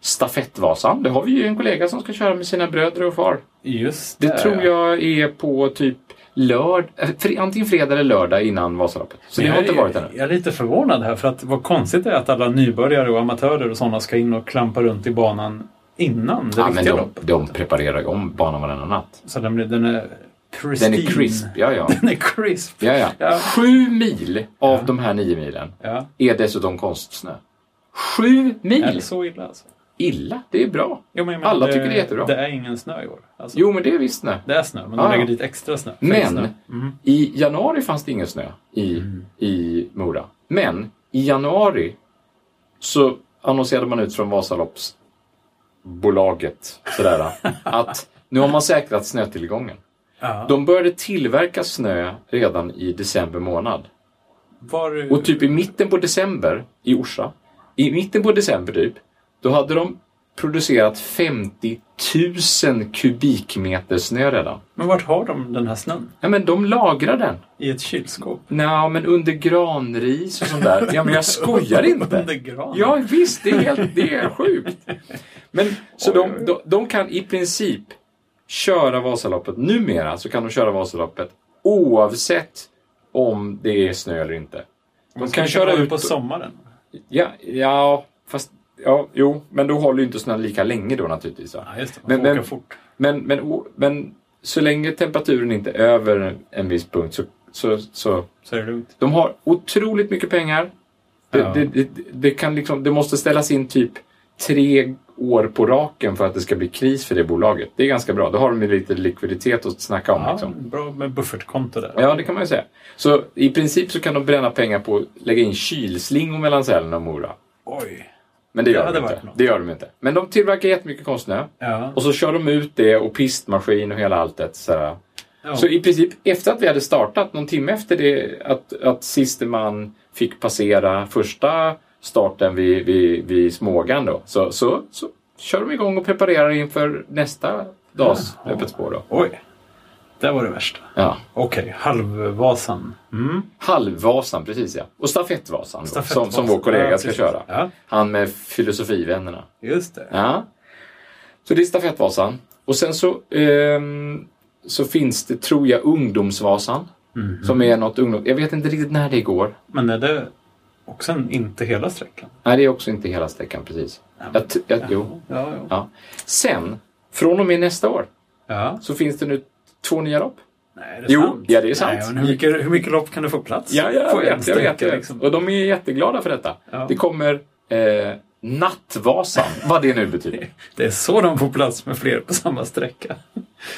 Stafettvasan. Det har vi ju en kollega som ska köra med sina bröder och far.
Just
Det
där,
tror
ja.
jag är på typ lörd, eh, fre- antingen fredag eller lördag innan Vasaloppet. Så det
Men
har
jag
inte
är-
varit ännu.
Jag är lite förvånad här för att vad konstigt det är att alla nybörjare och amatörer och sådana ska in och klampa runt i banan innan det
Ja, men
riktiga
de,
loppet.
de preparerar ju om banan varannan natt.
Så den, blir, den är
Den
pristine.
är crisp, ja ja.
Den är crisp.
Ja, ja.
Ja.
Sju mil av de här nio milen
Ja.
är dessutom konstsnö. Sju
Är det
mil!
så illa alltså?
Illa, det är bra.
Jo, men jag menar,
Alla tycker det är jättebra.
Det är ingen snö i år. Alltså,
Jo, men det är visst snö.
Det är snö, men de
Ah, ja.
lägger dit extra snö. För
Men
snö.
i januari fanns det ingen snö i, i Mora. Men i januari så annonserade man ut från Vasaloppsbolaget sådär, att nu har man säkrat snötillgången.
Ja.
De började tillverka snö redan i december månad.
Var,
Och typ i mitten på december i Orsa, i mitten på december typ, då hade de producerat 50 tusen kubikmeter snö redan.
Men vart har de den här snön?
Ja, men de lagrar den.
I ett kylskåp?
Nja, men under granris och sånt där. Ja, men jag skojar
Under
inte.
gran?
Ja, visst, det är helt det är sjukt. Men så
Oj,
de,
oj, oj.
de, de kan i princip köra Vasaloppet, numera så kan de köra Vasaloppet oavsett om det är snö eller inte. De kan köra ut
på sommaren.
Ja, ja, fast ja, jo, men då håller ju inte snön lika länge då naturligtvis. Va?
Ja, just det. Man
Men-
får åka
men-
fort.
Men, men, o- men så länge temperaturen inte är över en viss punkt så, så, så
Så är det lugnt.
de har otroligt mycket pengar. Det,
Ja.
det, det, det, kan liksom, det måste ställas in typ tre år på raken för att det ska bli kris för det bolaget. Det är ganska bra. Då har de ju lite likviditet att snacka om.
Ja,
Liksom.
bra med buffertkonto där.
Ja, det kan man ju säga. Så i princip så kan de bränna pengar på att lägga in kylslingor mellan Sälen och Mora.
Oj.
Men det
Det
gör,
hade
de
varit
inte.
något.
det gör de inte. Men de tillverkar jättemycket konstsnö.
Ja.
Och så kör de ut det och pistmaskin och hela alltet. Så, här.
Ja.
så i princip efter att vi hade startat, någon timme efter det att, att siste man fick passera första starten vid, vid, vid Smågan då, så, så, så kör de igång och preparerar inför nästa dags
Jaha.
öppet spår. Då.
Oj. Det var det värsta.
Ja.
Okej, halvvasan. Mm.
Halvvasan, precis ja. Och stafettvasan, då, som, som
Stafettvasan.
vår kollega
Ja,
ska
precis.
köra.
Ja,
Han med filosofivännerna.
just det.
Ja. Så det är stafettvasan. Och sen så, ehm, så finns det, tror jag, ungdomsvasan.
Mhm.
Som är något ungdom... Jag vet inte riktigt när det går.
Men är det också en, inte hela sträckan?
Nej, det är också inte hela sträckan precis. Jag, t- jag, jo.
Ja, ja.
Ja. Sen, från och med nästa år,
ja.
så finns det nu två nya lopp.
Nej, är det
Jo,
sant?
ja, det är sant.
Nej, men hur, mycket, hur mycket lopp kan du få plats
Ja, ja,
på en
jag vet. Jag
sträcka,
vet, jag vet.
liksom?
Och de är jätteglada för detta.
Ja.
Det kommer eh, Nattvasan, vad det nu betyder.
Det är så de får plats med fler på samma sträcka.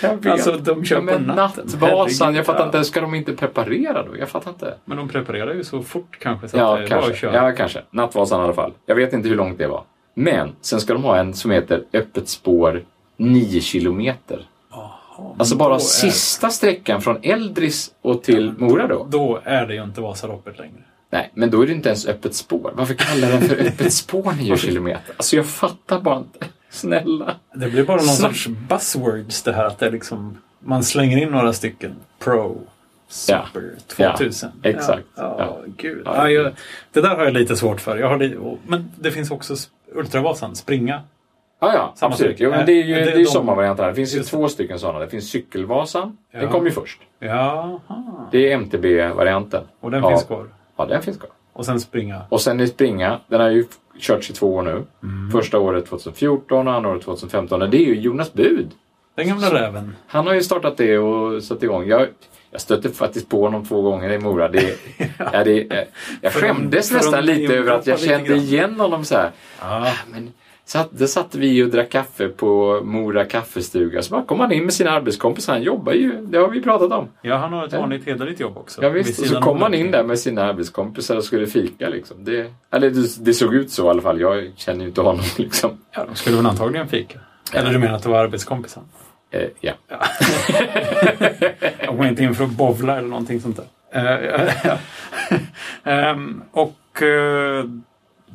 Jag vet.
Alltså, de kör
ja, men
på natten.
Nattvasan, jag
Herregud,
fattar
ja.
inte. Ska de inte preparera då? Jag fattar inte.
Men de preparerar ju så fort kanske så
Ja,
att det är bra att
kanske.
köra.
ja, kanske. Nattvasan i alla fall. Jag vet inte hur långt det var. Men sen ska de ha en som heter Öppet spår 9 kilometer.
Jaha,
Alltså
men
bara
då är-
sista sträckan från Eldris och till Mora då?
Då är det ju inte Vasaloppet längre.
Nej, men då är det inte ens öppet spår. Varför kallar den för öppet spår 9 kilometer? Alltså jag fattar bara inte. Snälla.
Det blir bara någon
Så-
sorts buzzwords det här att det är liksom man slänger in några stycken pro, super,
Ja,
2000.
exakt.
Ja,
Ja.
ja, gud.
Ja,
Ja, jag, det där har jag lite svårt för. Jag har li- och- men det finns också s- Ultravasan, springa.
Ja, ja,
Samma
absolut.
sak.
Jo, men det är ju
Ja, Eh, det är
det är ju
de-
sommarvarianten här. Det finns ju
Just
två stycken sådana. Det finns Cykelvasan. Den
Ja.
kom ju först.
Jaha.
Det är MTB-varianten.
Och den
ja.
finns kvar.
Ja, den finns kvar.
Och sen springa.
Och sen i springa, den har ju körts i två år nu.
Mm.
Första året 2014 och andra året 2015. Och Det är ju Jonas Bud.
Den gamla räven.
Han har ju startat det och satt igång. Jag, jag stötte faktiskt på honom två gånger i Mora. Det, ja, det, eh, jag
För de-
skämdes
för de
nästan lite över att jag
inproppar lite
kände
grann.
igen honom så här. Ah,
Ja.
Men, så att, där satt vi och drack kaffe på Mora kaffestuga. Så bara kom han in med sina arbetskompisar. Han jobbar ju, det har vi pratat om.
ja, han har ett vanligt hederligt jobb också.
Ja,
Vid
visst. Och så
sidan
kom
om
han
det.
in där med sina arbetskompisar och skulle fika. Liksom. Det, eller det, det såg ut så i alla fall. Jag känner ju inte honom. Liksom.
Ja, de skulle väl antagligen fika. Eller du menar att det var arbetskompisen?
Eh, ja.
Jag går inte in för att bovla eller någonting sånt där. Eh, Ehm, och eh,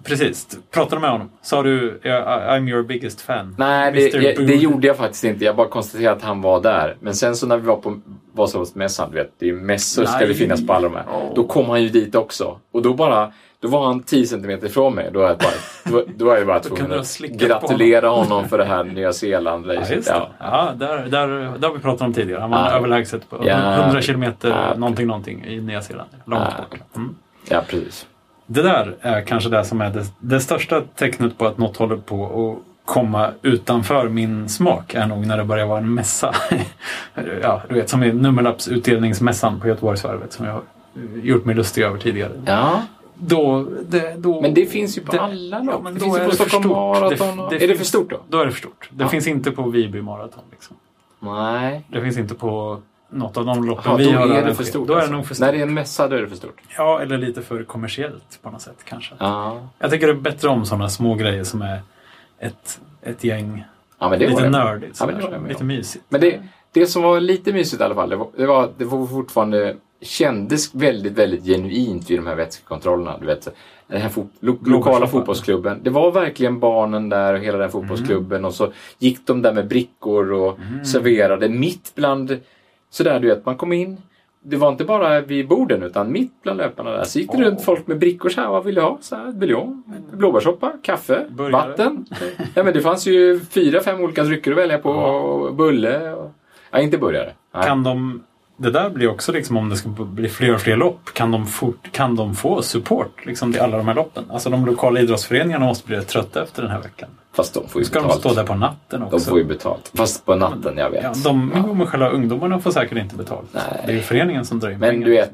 precis, pratade med honom. Sa du "I- I'm your biggest fan?
Nej,
Mr.
det, jag,
Boone.
det gjorde jag faktiskt inte. Jag bara konstaterade att han var där. Men sen så när vi var på Vasaloppsmässan, du vet, det är mässor ska
Nej.
det finnas på alla de här. Då kom han ju dit också. Och då bara, då var han 10 centimeter ifrån mig. Då var jag bara, då, då var jag bara tvungen
du ha
att
slickat på
gratulera honom för det här Nya Zeeland.
Ja, just det. Ja, där, där, där har vi pratat om tidigare. Han vann
Ja.
överlägset på
Ja.
100 kilometer
Ja.
någonting, någonting i Nya Zeeland. Långt
Ja.
bort. Mm.
ja, precis.
Det där är kanske det som är det, det största tecknet på att något håller på att komma utanför min smak är nog när det börjar vara en mässa. ja, du vet, som i nummerlappsutdelningsmässan på Göteborgsvarvet som jag har gjort mig lustig över tidigare.
Ja.
Då, det, då,
Men det finns ju på
Det-
alla
ja,
lopp.
men
det
då
finns
är
ju på
det för
Stockholm
stort.
Marathon.
Det-
och-
det
är det
finns-
för stort då?
då är det för stort. Det
Ja.
finns inte på Viby maraton. Liksom.
Nej.
Det finns inte på något av de loppen
Ja,
vi har
då är det för
arrangerat.
stort.
Då är det
alltså.
nog för
När
stort.
det är en mässa då är det för stort.
Ja, eller lite för kommersiellt på något sätt kanske.
Ja,
Jag tycker det är bättre om sådana små grejer som är ett, ett gäng
ja men det var
lite
det.
nördigt.
Ja,
sådär,
men det håller jag med
lite
om.
mysigt.
Men det, det som var lite mysigt i alla fall, det var, det var, det var fortfarande kändes väldigt, väldigt genuint vid de här vätskekontrollerna. Du vet, den här fot lo lokala fotbollsklubben. Det var verkligen barnen där och hela den här
Mm.
fotbollsklubben och så gick de där med brickor och
Mm.
serverade mitt bland sådär du vet, man kom in. Det var inte bara vid borden utan mitt bland löparna där så gick det
Åh.
runt folk med brickor så här, vad vill du ha? Så här, buljong, blåbärssoppa, kaffe,
Burgare.
vatten. Ja, men det fanns ju fyra, fem olika drycker att välja på och bulle. Och... Ja, inte burgare. Nej.
Kan de, det där blir också liksom om det ska bli fler och fler lopp, kan de, fort, kan de få support liksom, till alla de här loppen? Alltså de lokala idrottsföreningarna måste bli rätt trötta efter den här veckan.
Fast de får ju
Ska de
betalt.
stå där på natten
De
också?
får ju betalt. Fast på natten, jag vet.
ja, de men själva ungdomarna får säkert inte betalt.
Nej.
Det är ju föreningen som drar in
Men du vet,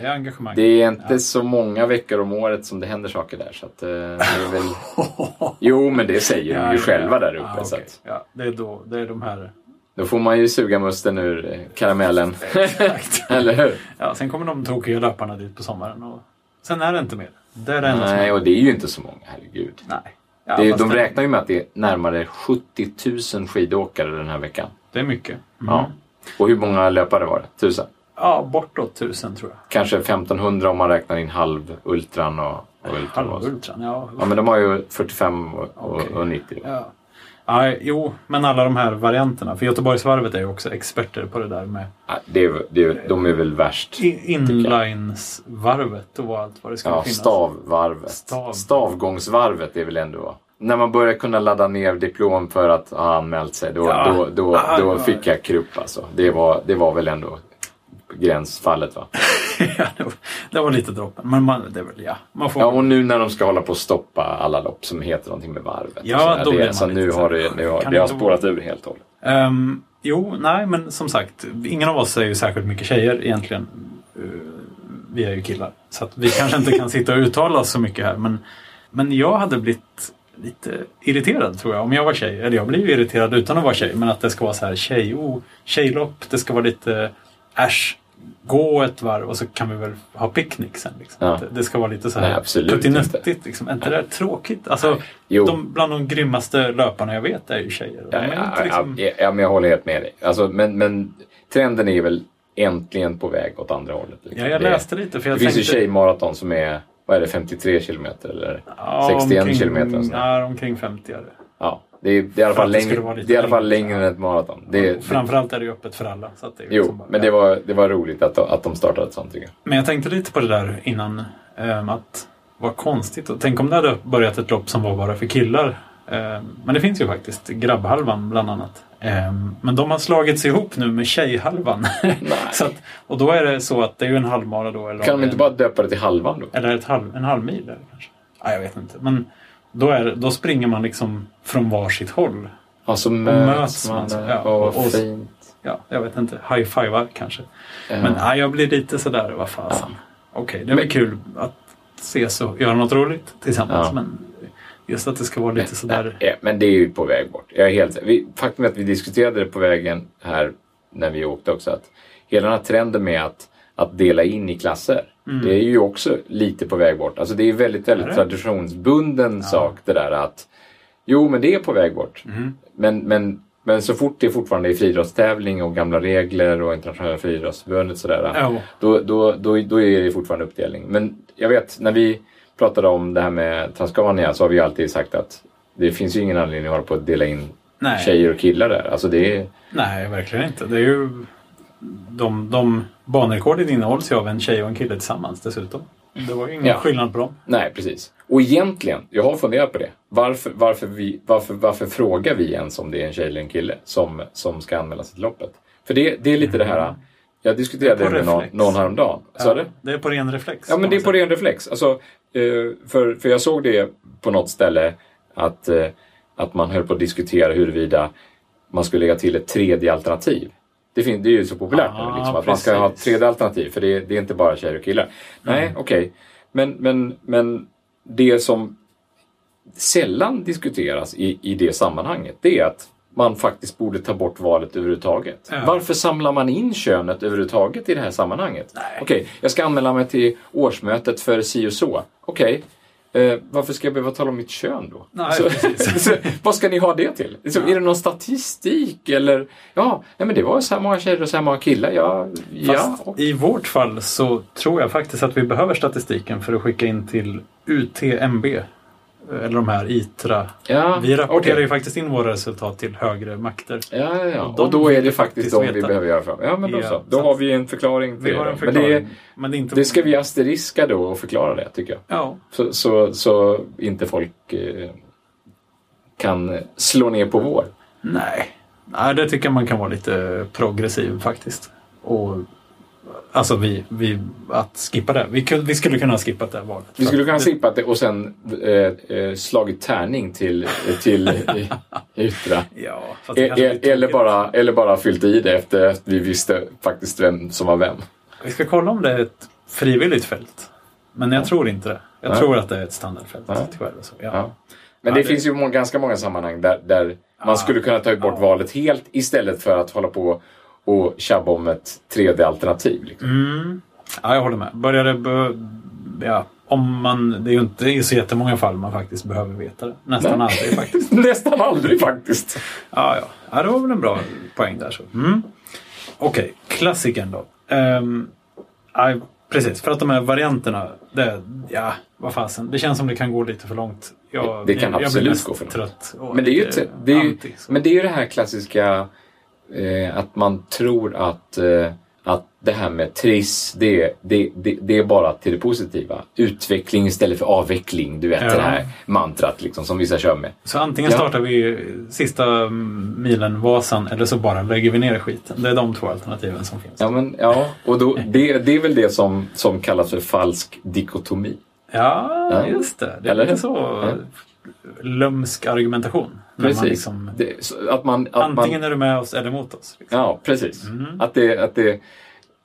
Det är engagemang.
det är inte så många veckor om året som det händer saker där. Så att, eh, det är väl... Jo, men det säger de ju själva där uppe.
Ja, Ah,
Så
okej.
att,
ja, det är då, det är de här.
då får man ju suga musten ur eh, karamellen.
Exakt.
Eller hur?
Ja, sen kommer de tokiga löparna dit på sommaren och sen är det inte mer. Det är det enda som
Nej,
är.
och det är ju inte så många, herregud.
Nej. Ja,
Det är,
fast
de
det-
räknar ju med att det är närmare 70 000 skidåkare den här veckan.
Det är mycket. Mm.
Ja. Och hur många löpare var det? Tusen?
Ja, bortåt tusen tror jag.
Kanske 1500 om man räknar in halv ultran och, och ultran. och så.
Halvultran, ja.
Ja, men de har ju 45 och, och,
Okej.
och 90. då.
ja. ja. Jo, men alla de här varianterna. För Göteborgsvarvet är ju också experter på det där med
Ja, det är, det är, de är väl värst.
i- inlinesvarvet och allt vad det ska
Ja,
finnas.
stavvarvet.
Stav.
Stavgångsvarvet är väl ändå... När man börjar kunna ladda ner diplom för att ha anmält sig, då,
Ja.
då, då,
Ah,
då
ja.
fick jag krupp alltså. Det var, det var väl ändå gränsfallet va?
Ja, det var- det var lite droppen. Men man, det är väl, ja. Man får...
Ja, och nu när de ska hålla på och stoppa alla lopp som heter någonting med varvet. och
Ja,
sådär,
då blir
det,
man
så
lite
nu
så
har
här,
det, nu har,
kan
det
det
har
inte
spårat ur helt och hållet.
Ehm, jo, nej, men som sagt. Ingen av oss är ju särskilt mycket tjejer egentligen. Eh, vi är ju killar. Så att vi kanske inte kan sitta och uttala oss så mycket här. Men, men jag hade blivit lite irriterad tror jag om jag var tjej. Eller jag blir ju irriterad utan att vara tjej. Men att det ska vara så här tjej, oh, tjejlopp. Det ska vara lite äsch. Gå ett varv och så kan vi väl ha picknick sen. Liksom.
Ja.
Det- Det ska vara lite så
Nej,
här
absolut
puttinuttigt. Liksom. Är inte det där tråkigt? Alltså,
Jo.
de, bland de grymmaste löparna jag vet är ju tjejer. De
Ja,
är ju inte
ja,
liksom...
ja, ja, men jag håller helt med dig. Alltså, men, men trenden är väl äntligen på väg åt andra hållet. liksom.
Ja, jag
Det-
läste lite för
Det
jag
finns ju
tänkte...
tjejmaraton som är, vad är det, 53 kilometer eller
Ja,
61
omkring-
kilometer. och sånt där.
Ja, omkring 50 är det.
Ja, det är, det är i alla
För
fall
att det skulle
längre,
vara
det
lite
är i alla fall
längre,
längre än ett maraton. Det,
Och
det,
Framförallt är det ju öppet för alla. Så att det är liksom
jo,
bara-
men det var, det var roligt att, de- att de startade ett sånt tycker jag.
Men jag tänkte lite på det där innan. ehm, Att vad konstigt. Och Tänk om det hade börjat ett lopp som var bara för killar. Ehm, Men det finns ju faktiskt. Grabbhalvan bland annat. Ehm, Men de har slagits ihop nu med tjejhalvan. så att, och då är det så att det är ju en halvmara då. Eller
Kan
om
de
det är
inte
en-
bara döpa det till halvan då?
Eller ett halv, en halv mil är det kanske. Nej, jag vet inte. Men då, är, det- då springer man liksom från varsitt håll.
Ja, så Alltså, möts
möts
man.
man,
där.
ja,
Åh,
och-
vad
och-
fint.
Ja, jag vet inte. High-fivar kanske.
Ja.
Men nej, jag blir lite sådär, vad fasen. Okej, det är väl kul att ses och göra något roligt tillsammans.
Ja.
Men just att det ska vara lite sådär.
Ja, men det är ju på väg bort. Jag är helt, vi, faktum är att vi diskuterade det på vägen här när vi åkte också. Att hela den här trenden med att, att dela in i klasser. Det är ju också lite på väg bort. Alltså det är väldigt, väldigt
Mm. Är det?
traditionsbunden sak det där att jo, men det är på väg bort.
Mm.
Men, men, men så fort det fortfarande är friidrottstävling och gamla regler och internationella friidrottsförbundet sådär.
Ja.
Då, då, då, då är det fortfarande uppdelning. Men jag vet, när vi pratade om det här med Transcania så har vi ju alltid sagt att det finns ju ingen anledning att hålla på att dela in
Nej.
tjejer och killar där. Alltså det är,
Nej, verkligen inte. Det är ju... De, de banrekorden innehålls ju av en tjej och en kille tillsammans dessutom. Det var ju ingen
Ja.
skillnad på dem.
nej, precis. Och egentligen, jag har funderat på det. Varför, varför, vi, varför, varför frågar vi ens om det är en tjej eller en kille som, som ska anmäla sig till loppet? För det, det är lite det här, jag diskuterade
Det
det
är Mm. på
med någon,
reflex.
någon häromdagen. Sa du?
Det är på ren reflex.
Ja, men
kan
det är
man
på
säga.
ren reflex. Alltså, eh, för, för jag såg det på något ställe att, eh, att man höll på att diskutera huruvida man skulle lägga till ett tredje alternativ. Det, fin- det är ju så populärt nu,
Ah,
liksom, att man ska ha ett
precis. Mm.
tredje alternativ för det, det är inte bara tjejer och killar. Nej, okej. Men, men, men det som sällan diskuteras i, i det sammanhanget, det är att man faktiskt borde ta bort valet överhuvudtaget.
Ja.
Varför samlar man in könet överhuvudtaget i det här sammanhanget? Okej, jag ska anmäla mig till årsmötet för si och så. Okej, Eh, varför ska jag behöva tala om mitt kön då?
Nej,
så,
precis.
så, vad ska ni ha det till? Så, Är det någon statistik eller? Ja, nej, men det var så här många tjejer och så här många killar. Ja, ja.
Fast i vårt fall så tror jag faktiskt att vi behöver statistiken för att skicka in till UTMB. eh, Eller de här ITRA.
ja
Vi rapporterar
okej.
ju faktiskt in våra resultat till högre makter.
Ja, ja, ja.
de
Och då är
vill
det
vi
faktiskt
faktiskt
de vi
veta.
behöver göra fram. Ja, men då
Ja,
så. Då
så
har
att-
vi en förklaring till
Vi har
det.
en
Men det,
förklaring.
är-
Men det är inte...
det ska vi asteriska då och förklara det, tycker jag.
Ja,
Så, så, så inte folk eh, kan slå ner på vår.
nej. Nej, det tycker jag man kan vara lite progressiv faktiskt. Och Alltså vi, vi, att skippa det. Vi, kunde, vi skulle kunna ha skippat det här valet.
Vi skulle kunna
För att
slippa det och sen eh, eh, slagit tärning till, till i- yttra.
det- Ja, fast Alltså, det
E-
kanske blir
e- eller,
tråkigt.
bara, eller bara fyllt i det efter att vi visste faktiskt vem som var vem.
Vi ska kolla om det är ett frivilligt fält. Men jag tror inte det. Jag
Nej.
tror att det är ett standardfält.
Nej.
Tyvärr, så. Ja.
Ja. Men
Ja,
det,
det-
finns ju må- ganska många sammanhang där, där man skulle kunna ta bort
Ja.
valet helt istället för att hålla på och tjabba om ett 3D-alternativ. Liksom.
Mm. ja, jag håller med. Börjar det... Be... Ja, om man... Det är ju inte så jättemånga fall man faktiskt behöver veta det. Nästan
Nej.
aldrig faktiskt.
Nästan aldrig faktiskt.
Ja, ja. ja, det var väl en bra poäng där. så. Mm. Okej, klassikern då. Ehm, ja, precis, för att de här varianterna, det, ja, vad fasen. Det känns som det kan gå lite för långt. Jag,
Det kan
jag, jag blir
absolut
mest
gå för långt.
trött. och
Men det är ju,
lite
ett- det är ju,
anti, så.
men det, är ju det här klassiska eh, att man tror att, eh, att det här med triss, det, det, det, det är bara till det positiva. Utveckling istället för avveckling, du vet
Ja.
det här mantrat liksom, som vissa kör med.
Så antingen
Ja.
startar vi sista milen Vasan eller så bara lägger vi ner skiten. Det är de två alternativen som finns.
Ja, men, ja och då, det, det är väl det som, som kallas för falsk dikotomi.
Ja,
Ja.
just det. Det
Eller
är
hur?
så lömsk argumentation. När man liksom,
Det, så att man, att
antingen
man,
är du med oss eller mot oss. Liksom.
ja, precis. Att, det, att, det,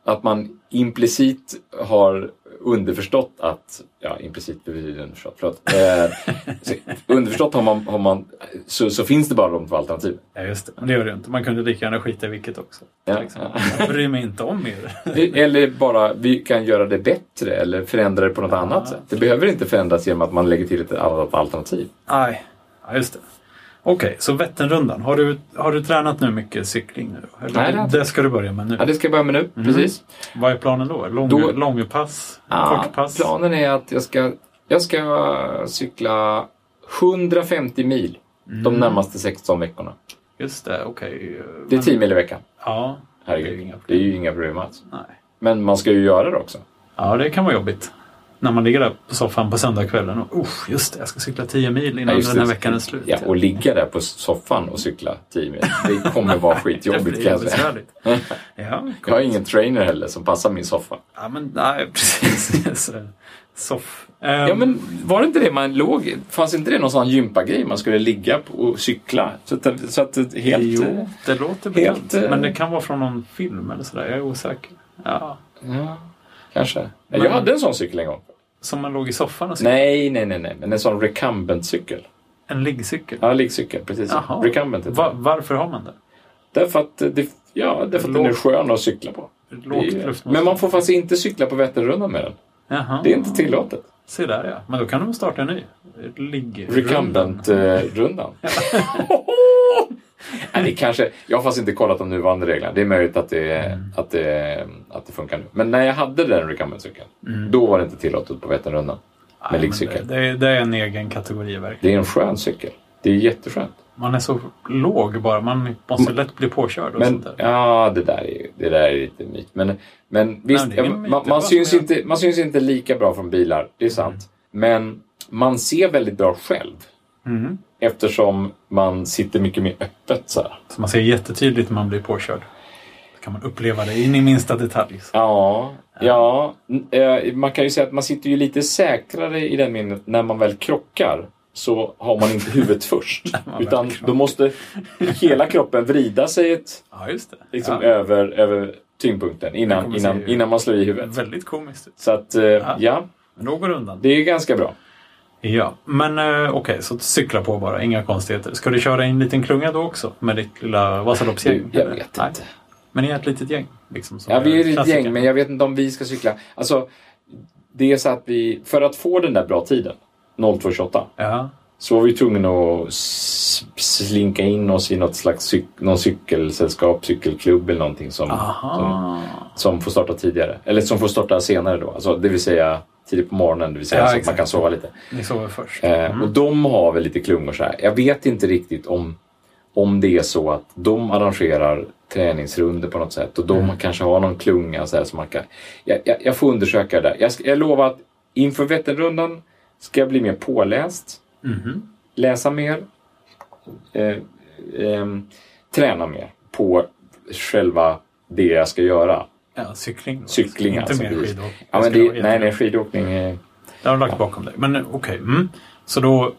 att man implicit har underförstått att, ja implicit betyder underförstått, förlåt. Eh, så, underförstått har man, har man så, så finns det bara de två alternativen.
Ja, just det. Men det gör du inte. Man kunde lika gärna skita i vilket också.
Ja.
Liksom. Jag bryr mig inte om er.
Eller bara, vi kan göra det bättre eller förändra det på något annat sätt. Det behöver inte förändras genom att man lägger till ett annat alternativ.
Nej, ja, just det. Okej, så Vätternrundan. Har du, har du tränat nu mycket cykling? Nu? då? Eller,
Nej, det har jag
det ska du börja med nu.
Ja, det ska jag börja med nu,
Mm.
precis.
Vad är planen då? Lång,
Då-
Långpass?
Ja,
kortpass?
Planen är att jag ska, jag ska cykla 150 mil de närmaste 16 veckorna.
Just det, okej. eh,
Det är
Men-
10 mil i veckan.
Ja, det är ju
Herregud,
inga
det är
problem.
ju inga problem alls.
Nej.
Men man ska ju göra det också.
Ja, det kan vara jobbigt. När man ligger där på soffan på söndagskvällen och oh, just det, jag ska cykla 10 mil
Ja,
innan
just
den här
det.
veckan är slut.
Ja, och ligga där på soffan och cykla 10 mil. Det kommer vara
Det
skitjobbigt
blir
kan jag säga.
besvärligt. Ja,
Jag har ingen trainer heller som passar min soffa.
ja, men nej, precis. Så, Soff. Ehm,
Ja, men var det inte det man låg Fanns inte det någon sån gympagrej man skulle ligga på och cykla? Så att, så att det helt... eh,
Jo, det låter bekant.
helt, eh,
Men det kan vara från någon film eller sådär. Jag är osäker. Ja.
Ja, kanske. Jag
Men-
hade en sån cykel en gång.
Som man låg i soffan och cyklade.
Nej, nej, nej, nej. Men en sån recumbent cykel.
En liggcykel.
Ja, liggcykel. Precis.
Jaha.
Recumbent heter
Va,
det.
varför har man det?
Därför att, det, ja, därför att den är
Lågt.
skön att cykla på. Det
Lågt
är,
luftmotstånd.
men man får faktiskt inte cykla på Vätternrundan med den.
Jaha.
Det är inte tillåtet.
Se där ja. Men då kan de starta en ny. Ligg.
Recumbent-rundan. Nej, det kanske, jag har faktiskt inte kollat de nuvarande reglerna. Det är möjligt att det,
Mm.
att det, att det funkar nu. Men när jag hade den recumbent-cykeln,
Mm.
då var det inte tillåtet på Vätternrundan.
Nej,
Med
men
liggcykel.
Det, det, är- det är en egen kategori verkligen.
Det är en skön cykel. Det är jätteskönt.
Man är så låg bara. Man måste lätt bli påkörd och sånt
Men,
där.
ja, det där är, ju- det där är lite myt. Men, men visst,
det är ingen
ja,
myt.
man,
Det
man,
var
syns
som
inte, man syns inte lika bra från bilar, det är sant. Men man ser väldigt bra själv.
Mm.
Eftersom man sitter mycket mer öppet så här.
Så man ser jättetydligt när man blir påkörd. Då kan man uppleva det in i minsta detalj.
Ja, ja. n- eh, Man kan ju säga att man sitter ju lite säkrare i den meningen att när man väl krockar så har man inte huvudet först.
man väl
Utan då måste hela kroppen vrida sig ett,
Ja, just det.
liksom,
ja.
över, över tyngdpunkten
Jag
innan,
kommer se
innan,
hur-
innan man slår i huvudet.
Väldigt komiskt.
Så att, eh, ja,
Men då går det undan.
det är ganska bra.
Ja, men eh, okej, så cykla på bara. Inga konstigheter. Ska du köra i en liten klunga då också? Med ditt lilla Vasaloppsgäng?
Du, jag
eller?
vet
Nej.
inte.
Men ni är ett litet gäng? Liksom, som
Ja, vi är ett
klassiker.
gäng, men jag vet inte om vi ska cykla. Alltså, det är så att vi, för att få den där bra tiden 02.28.
Ja.
Så var vi tvungna att s- slinka in oss i något slags cyk- någon cykelsällskap, cykelklubb eller någonting som, som,
Aha.
som får starta tidigare. Eller som får starta senare då. Alltså, det vill säga tidigt på morgonen, det vill säga
Ja,
så att man
exakt.
kan sova lite.
Ni sover först.
Eh, Och de har väl lite klungor så här. Jag vet inte riktigt om, om det är så att de arrangerar träningsrunder på något sätt och de kanske har någon klunga så här som man kan... Jag, jag, jag får undersöka det där. Jag, ska- jag lovar att inför Vätternrundan ska jag bli mer påläst,
Mhm.
läsa mer, eh, ehm, träna mer på själva det jag ska göra.
Ja, cykling. då.
Cykling
Inte
alltså.
mer
precis.
skidor.
Ja, men
skulle vara
det, nej,
jättekul.
nej, skidåkning är...
Det har de lagt bakom dig. Men eh, okej. Mm. Så då,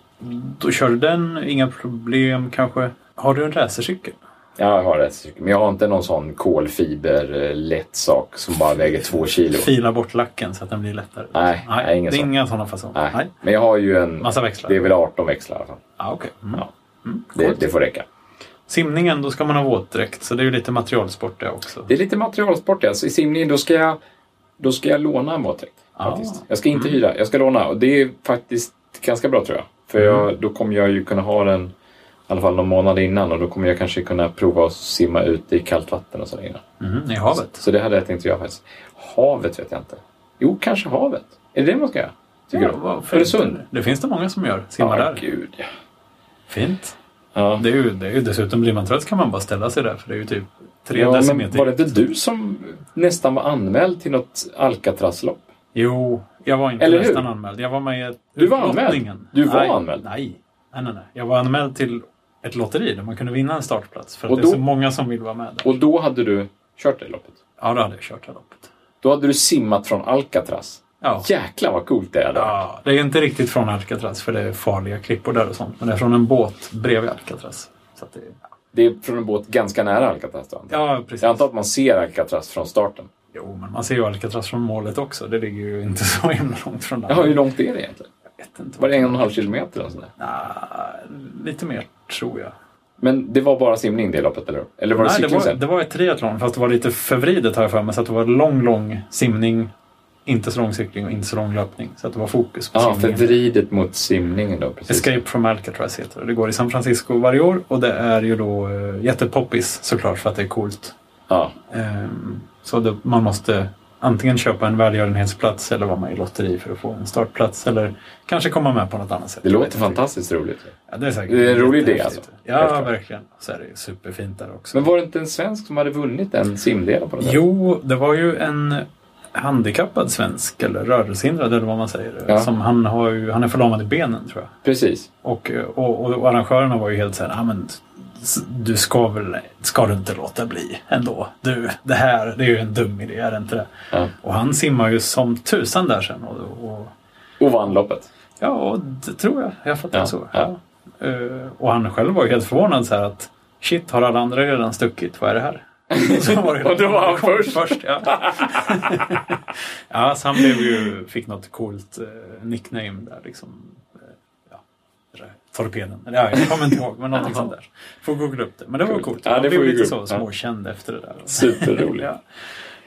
då kör du den. Inga problem kanske. Har du en racercykel?
Ja, jag har det. Men jag har inte någon sån kolfiber eh, lätt sak som bara väger två kilo.
Fila bort lacken så att den blir lättare.
Nej, nej, ingen
det är
sån.
inga sådana fasoner.
Nej. Men jag har ju en...
Massa växlar.
Det är väl 18 växlar i alla fall.
Ah, okej. mm.
Ja.
Mm,
Det,
coolt.
det får räcka.
Simningen, då ska man ha våtdräkt. Så det är ju lite materialsport det också.
Det är lite materialsport. Alltså. I simningen då ska jag, då ska jag låna en våtdräkt.
Ah.
faktiskt. Jag ska inte hyra. Jag ska låna. Och det är faktiskt ganska bra tror jag. För
Mm.
jag, då kommer jag ju kunna ha den i alla fall någon månad innan och då kommer jag kanske kunna prova att simma ute i kallt vatten och sådär innan.
Mhm, I havet.
Så det hade jag tänkt göra faktiskt. Havet vet jag inte. Jo, kanske havet. Är det det man ska göra? Tycker
Ja,
du?
varför
Öresund?
inte? Det finns det många som gör. Simmar
Ja,
där.
gud ja.
Fint.
ja.
Det är ju, det är ju dessutom, blir man trött kan man bara ställa sig där för det är ju typ tre
ja men
decimeter.
var det inte du som nästan var anmäld till något Alcatrazlopp?
Jo, jag var inte
Eller hur?
nästan anmäld. Jag var med i ett-
Du var anmäld?
utlottningen.
Du var
nej,
anmäld?
Nej. nej, nej, nej. Jag var anmäld till ett lotteri där man kunde vinna en startplats. För att
Och
det är
då-
så många som vill vara med. Där.
Och då hade du kört det loppet?
Ja, då hade jag kört det loppet.
Då hade du simmat från Alcatraz?
Ja.
Jäklar vad coolt det är då.
Ja, det är inte riktigt från Alcatraz för det är farliga klippor där och sånt. Men det är från en båt bredvid Alcatraz. Så att det,
Det är från en båt ganska nära Alcatraz då? antar jag.
ja, precis.
Jag antar att man ser Alcatraz från starten.
Jo, men man ser ju Alcatraz från målet också. Det ligger ju inte så himla långt från land.
Ja, hur långt är det egentligen?
Jag vet inte.
Var
Vad...
det en och en halv kilometer? Eller sånt där?
Nja, lite mer tror jag.
Men det var bara simning det loppet, eller hur? Eller var det
Nej, det
cykling
var,
sen?
det var ett triathlon fast det var lite förvridet har jag för mig. Så att det var lång, lång simning, inte så lång cykling och inte så lång löpning. Så att det var fokus på
Ja,
simningen.
förvridet mot simningen då. Precis.
Escape from Alcatraz heter det. Det går i San Francisco varje år och det är ju då eh, jättepoppis såklart för att det är coolt.
Ja.
Ehm, Så det, man måste antingen köpa en välgörenhetsplats eller vara med i lotteri för att få en startplats. Eller kanske komma med på något annat sätt.
Det
Jag vet
låter
inte.
fantastiskt roligt.
Ja, det är säkert
Det är en rolig idé,
jättehäftigt.
alltså. Helt
Ja,
klart.
verkligen. Så är det ju superfint där också.
Men var det inte en svensk som hade vunnit den simdelen på något sätt?
Jo, det var ju en handikappad svensk, eller rörelsehindrad eller vad man säger.
Ja.
Som han, har ju, han är förlamad i benen tror jag.
Precis.
Och, och, och arrangörerna var ju helt så här, ah, men s- du ska väl ska du inte låta bli ändå. Du, det här det är ju en dum idé, är det inte det?
Ja.
Och han simmar ju som tusan där sen. Och, och,
Och vann loppet.
ja, och det tror jag. Jag fattar
Ja,
så.
ja.
Eh, och han själv var ju helt förvånad så här att shit, har alla andra redan stuckit? Vad är det här? Så var det
Och då var han först.
först ja. ja, så han blev ju, fick något coolt eh, nickname där liksom. Eh, ja, det där, torpeden. Eller, ja, jag kommer inte ihåg, men någonting sånt där. Får googla upp det. Men det var
Coolt.
coolt.
Ja,
han
det
blev
får vi
lite
googla.
så
Ja.
småkänd efter det där.
Superroligt.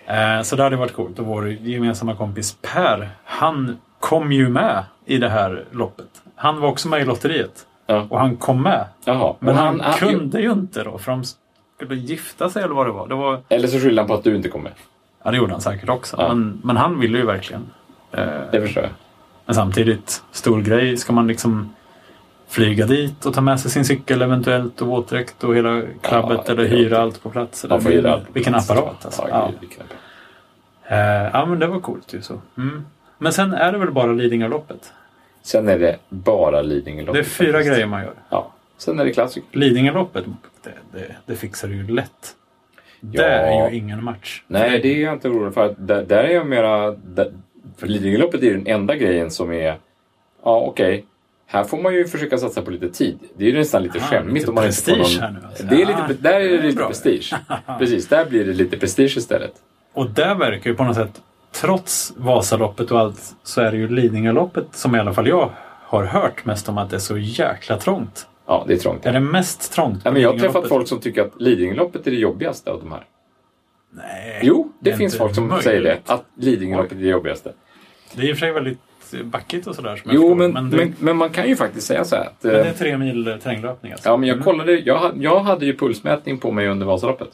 ja. Eh, Så det hade varit coolt. Och vår gemensamma kompis Per, han kom ju med i det här loppet. Han var också med i lotteriet.
Ja.
Och han kom med.
Jaha.
Men
Och
han, kunde ju inte då, för de skulle gifta sig eller vad det var. Det, var,
Eller så skyllde han på att du inte kom med.
ja, det gjorde han säkert också.
Ja.
Men, men han ville ju verkligen. Eh,
Det förstår jag.
Men samtidigt, stor grej. Ska man liksom flyga dit och ta med sig sin cykel eventuellt och våtdräkt och hela klabbet
det
eller
låter-
hyra allt på plats? Eller
Man får gilla allt.
Vilken apparat alltså.
Ja,
Ja.
gud, vilken apparat.
Eh, ja, men det var coolt ju så. Mm. Men sen är det väl bara Lidingöloppet?
Sen är det bara Lidingöloppet.
Det är fyra
faktiskt.
grejer man gör.
Ja. Sen är det klassiker.
Lidingöloppet, det, det, det fixar du ju lätt. Det
Ja.
är ju ingen match.
Nej, det är jag inte orolig för. Att där, där är jag mera... Där, för Lidingöloppet är ju den enda grejen som är... Ja, okej. Här får man ju försöka satsa på lite tid. Det är ju nästan lite
Ah,
skämmigt
lite
om man inte får
prestige
någon...
här nu alltså.
Det är
Ah,
lite, där är
det
det
är
lite
bra.
prestige. Precis, där blir det lite prestige istället.
Och där verkar ju på något sätt, trots Vasaloppet och allt, så är det ju Lidingöloppet som i alla fall jag har hört mest om att det är så jäkla trångt.
Ja, det är trångt.
Det är det mest trångt på
Ja, men jag har
Lidingöloppet.
träffat folk som tycker att Lidingöloppet är det jobbigaste av de här.
Nej,
Jo, det,
är
finns
inte
folk som
möjligt.
säger det. Att Lidingöloppet är det jobbigaste.
Det är i och för sig väldigt väldigt backigt och sådär. Som jag
Jo,
förstår.
men,
det,
men, men man kan ju faktiskt säga så här att...
men det är
eh,
tre mil terränglöpning alltså.
Ja, men jag
Mm.
kollade, jag, ha- jag hade ju pulsmätning på mig under Vasaloppet.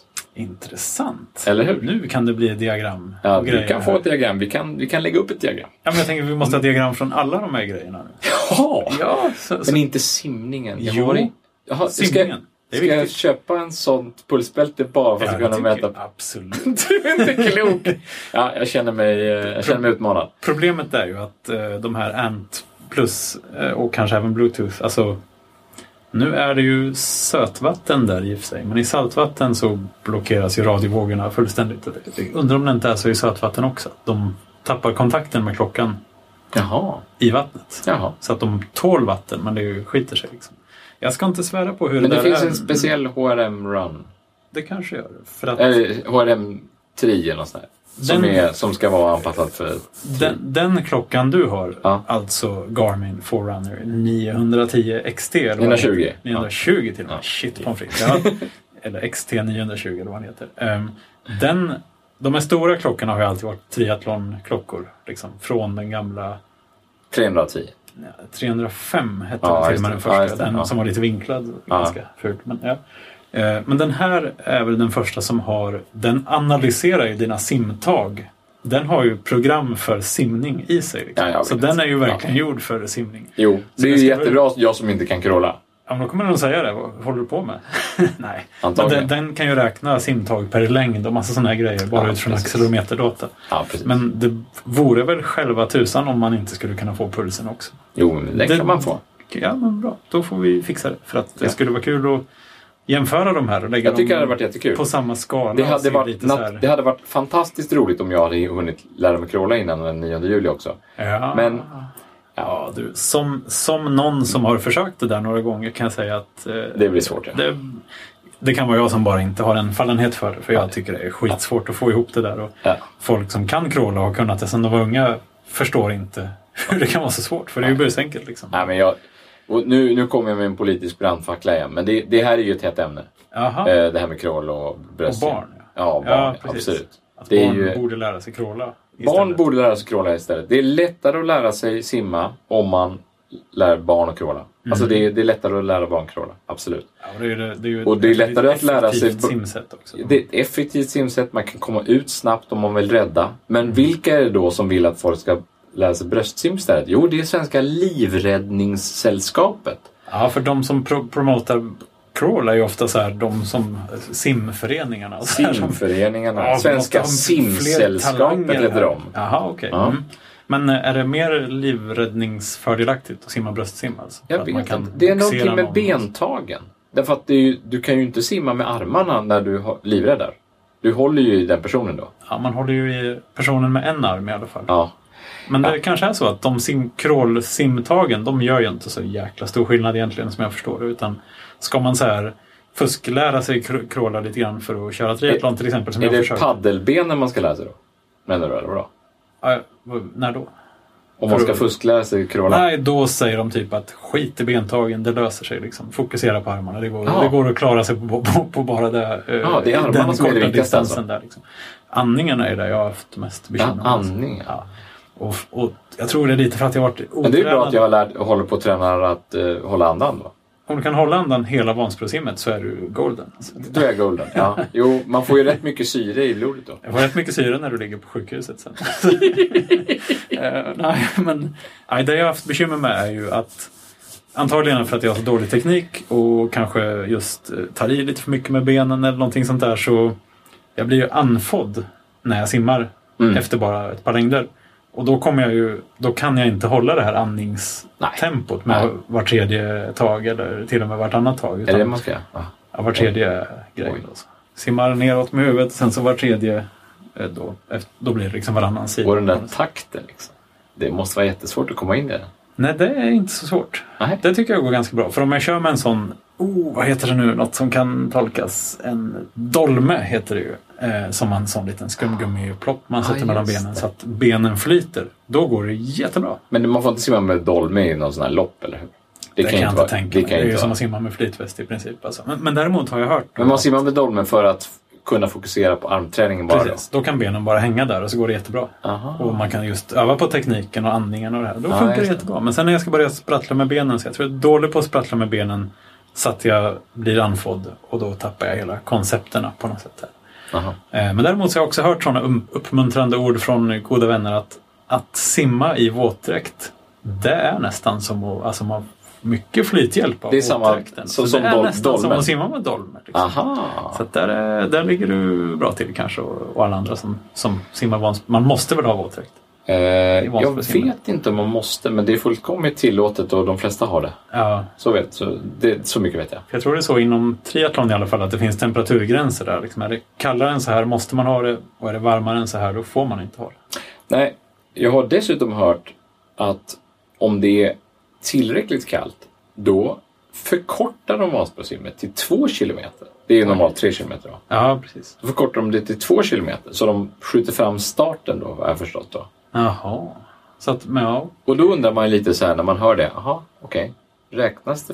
Intressant.
Eller hur?
Nu kan det bli diagram.
Ja,
och
vi
grejer
kan få
här.
ett diagram. Vi kan, vi kan lägga upp ett diagram.
Ja, men jag tänker att vi måste ha diagram från alla de här grejerna nu.
Ja!
Ja, så,
Men inte simningen. Jag
Jo,
har varit- Jaha, ska-
simningen. Det är
Ska jag
viktigt.
köpa en sånt pulsbälte bara för att
Ja, jag
kunna mäta?
tycker absolut.
Du är inte klok! Ja, jag känner mig, eh, jag känner mig utmanad.
Problemet är ju att eh, de här Ant Plus eh, och kanske även Bluetooth, alltså nu är det ju sötvatten där i och för sig, men i saltvatten så blockeras ju radiovågorna fullständigt. Jag Undrar om det inte är så i sötvatten också, att de tappar kontakten med klockan
Jaha.
i vattnet.
Jaha.
Så att de tål vatten, men det ju skiter sig. Liksom. Jag ska inte svära på hur
Men
det,
det
där
finns
är.
en speciell HRM-run.
Det kanske gör det, för att
Eller HRM-tri eller något sånt där. Som,
Den-
är, som ska vara anpassad för...
Den, den klockan du har,
Ja.
alltså Garmin Forerunner 910 XT. eller vad
920,
den heter.
ja.
920 till och med.
Ja.
Shit pommes frites. Ja. Eller XT 920 eller vad den heter. Ehm, den, de här stora klockorna har ju alltid varit triathlonklockor. Liksom, från den gamla
310.
ja, 305 hette
Ja,
den till och
just
med den
det.
första.
Ja, just det.
den
Ja.
som var lite vinklad.
Ja.
Ganska fult, men, ja. Eh, men den här är väl den första som har, den analyserar ju dina simtag. Den har ju program för simning i sig. Liksom.
Ja, jag vet.
Så den är ju verkligen
Ja.
gjord för simning.
Jo, det är
jag
ju
ska väl-
jättebra, jag som inte kan crawla.
Ja, men då kommer den säga det. Vad håller du på med? Nej. Men
Antagligen.
den, den kan ju räkna simtag per längd och massa sådana här grejer bara
Ja,
utifrån
precis.
accelerometerdata.
Ja, precis.
Men det vore väl själva tusan om man inte skulle kunna få pulsen också.
jo, men den,
den-
kan man få.
Ja, men bra. Då får vi fixa det. För att det
Ja.
skulle vara kul att jämföra de här och lägga
Jag tycker det hade
dem
varit jättekul.
på samma skala.
Det
och
hade,
se
varit,
lite så här-
nat- det hade varit fantastiskt roligt om jag hade hunnit lära mig crawla innan den 9 juli också.
Ja.
men-
ja, du. Som, som någon som har försökt det där några gånger kan jag säga att eh,
Det blir svårt. Ja.
det, det kan vara jag som bara inte har en fallenhet för det. För jag tycker det är skitsvårt att få ihop det där. Och
Ja.
Folk som kan crawla och har kunnat det sedan de var unga förstår inte hur det kan vara så svårt. För det är ju busenkelt liksom.
Nej, men jag, och nu, nu kommer jag med en politisk brandfackla igen, men det, det här är ju ett hett ämne.
Jaha.
Eh, Det här med crawl och bröst.
Och barn,
Ja,
ja.
barn.
Ja, precis.
absolut.
Att
Det är
barn
ju,
borde lära sig crawla.
barn
istället.
borde lära sig crawla istället. Det är lättare att lära sig simma om man lär barn att crawla. Alltså det är, det är lättare att lära barn crawla, absolut.
Ja, och det är, ju det, det är ju
Och det är
ett
lättare att lära sig-
effektivt simsätt också.
Det är ett effektivt simsätt, man kan komma ut snabbt om man vill rädda. Men vilka är det då som vill att folk ska lära sig bröstsim istället? Jo, det är Svenska Livräddningssällskapet.
Ja, för de som pro promotar crawl är ju ofta så här, de som simföreningarna. och så här som-
Simföreningarna.
Ja, vi måste
Svenska
ha fler
Simsällskapet
talanger
heter
här.
de.
Jaha, okej.
Ja.
Mm. Men eh, är det mer livräddningsfördelaktigt att simma bröstsim? Alltså? För
Jag
att
vet
man kan
inte. Det är
boxera
någonting med
någon.
bentagen. Därför att det är ju, du kan ju inte simma med armarna när du har- livräddar. Du håller ju i den personen då.
Ja, man håller ju i personen med en arm i alla fall.
Ja.
Men det kanske är så att de sim simtagen de gör ju inte så jäkla stor skillnad egentligen som jag förstår det. Utan ska man så här fusklära sig kr- crawla lite grann för att köra triathlon till exempel som
Är
jag
det
försökte.
paddelbenen man ska lära sig då? Menar du eller vadå?
Ja, vad- när då?
Om man
För-
ska fusklära sig crawla?
Nej, då säger de typ att skit i bentagen, det löser sig. Liksom. Fokusera på armarna, det går,
Ja.
det går att klara sig på, på, på bara det, eh,
Ja, det är armarna
den
som är det
korta
viktigaste,
distansen.
alltså.
Där, liksom. Andningen är ju där jag har haft mest bekymmer.
Ja,
med, alltså.
andningen.
Ja. Och, och jag tror det är lite för att jag har varit
Men det är ju bra
otränad.
att jag har lärt, håller på att träna att eh, hålla andan då.
Om du kan hålla andan hela Vansbrosimmet så är du golden. Alltså.
Då är jag golden. Ja. Jo, man får ju rätt mycket syre i blodet då.
Jag får rätt mycket syre när du ligger på sjukhuset sen. Eh, nej, men nej, det jag har haft bekymmer med är ju att antagligen för att jag har så dålig teknik och kanske just eh, tar i lite för mycket med benen eller någonting sånt där så jag blir ju andfådd när jag simmar
Mm.
efter bara ett par längder. Och då, kommer jag ju, då kan jag inte hålla det här andningstempot med
Nej.
var tredje tag eller till och med vartannat tag.
Är
utan-
det det man ska göra? Ja.
Ja, var tredje grej.
Oj.
Då. Simmar neråt med huvudet, sen så var tredje eh, då, efter, då blir det liksom varannan sida.
Och den där takten liksom. Det måste vara jättesvårt att komma in i den.
Nej, det är inte så svårt.
Nej.
Det tycker jag går ganska bra. För om jag kör med en sån, oh, vad heter det nu, något som kan tolkas, en dolme heter det ju. Eh, som en sån liten skumgummiplopp man
Ah,
sätter mellan
just
benen
det.
så att benen flyter. Då går det jättebra.
Men man får inte simma med dolme i någon sån här lopp, eller hur?
Det, kan jag inte
vara-
tänka mig.
det kan
Det är
inte
ju som
vara.
att simma med flytväst i princip. Alltså. Men, men däremot har jag hört
Men man simmar med dolmen för att kunna fokusera på armträningen bara.
Precis. Då kan benen bara hänga där och så går det jättebra.
då. Aha.
Och man kan just öva på tekniken och andningen och det här. Då
Ja,
funkar det
just det.
jättebra. Men sen när jag ska börja sprattla med benen, så jag tror jag är dålig på att sprattla med benen så att jag blir andfådd och då tappar jag hela koncepterna på något sätt. Här.
Aha.
Eh, Men däremot så har jag också hört sådana um- uppmuntrande ord från goda vänner att, att simma i våtdräkt, det är nästan som att alltså man får mycket flythjälp av
Det är samma-
våtdräkten.
så-
Så
som
det är
dol-
nästan som
dolmen.
att simma med dolmen. Liksom.
Aha.
Så att där, är- där ligger du bra till kanske och, och alla andra som, som simmar vans- Man måste väl ha våtdräkt?
Eh, jag
vansinne.
vet inte om man måste, men det är fullkomligt tillåtet och de flesta har det.
Ja,
Så, vet, så, det, så mycket vet jag.
för jag tror det är så inom triathlon i alla fall att det finns temperaturgränser där. Liksom är det kallare än så här måste man ha det och är det varmare än så här då får man inte ha det.
Nej, jag har dessutom hört att om det är tillräckligt kallt, då förkortar de Vansbrosimmet till två kilometer. Det är ju normalt tre kilometer. Då.
Ja, precis.
då förkortar de det till två kilometer, så de skjuter fram starten då, har jag förstått. Då.
Jaha. Så att, men ja,
Och då undrar man ju lite så här när man hör det. Jaha, okej. Räknas det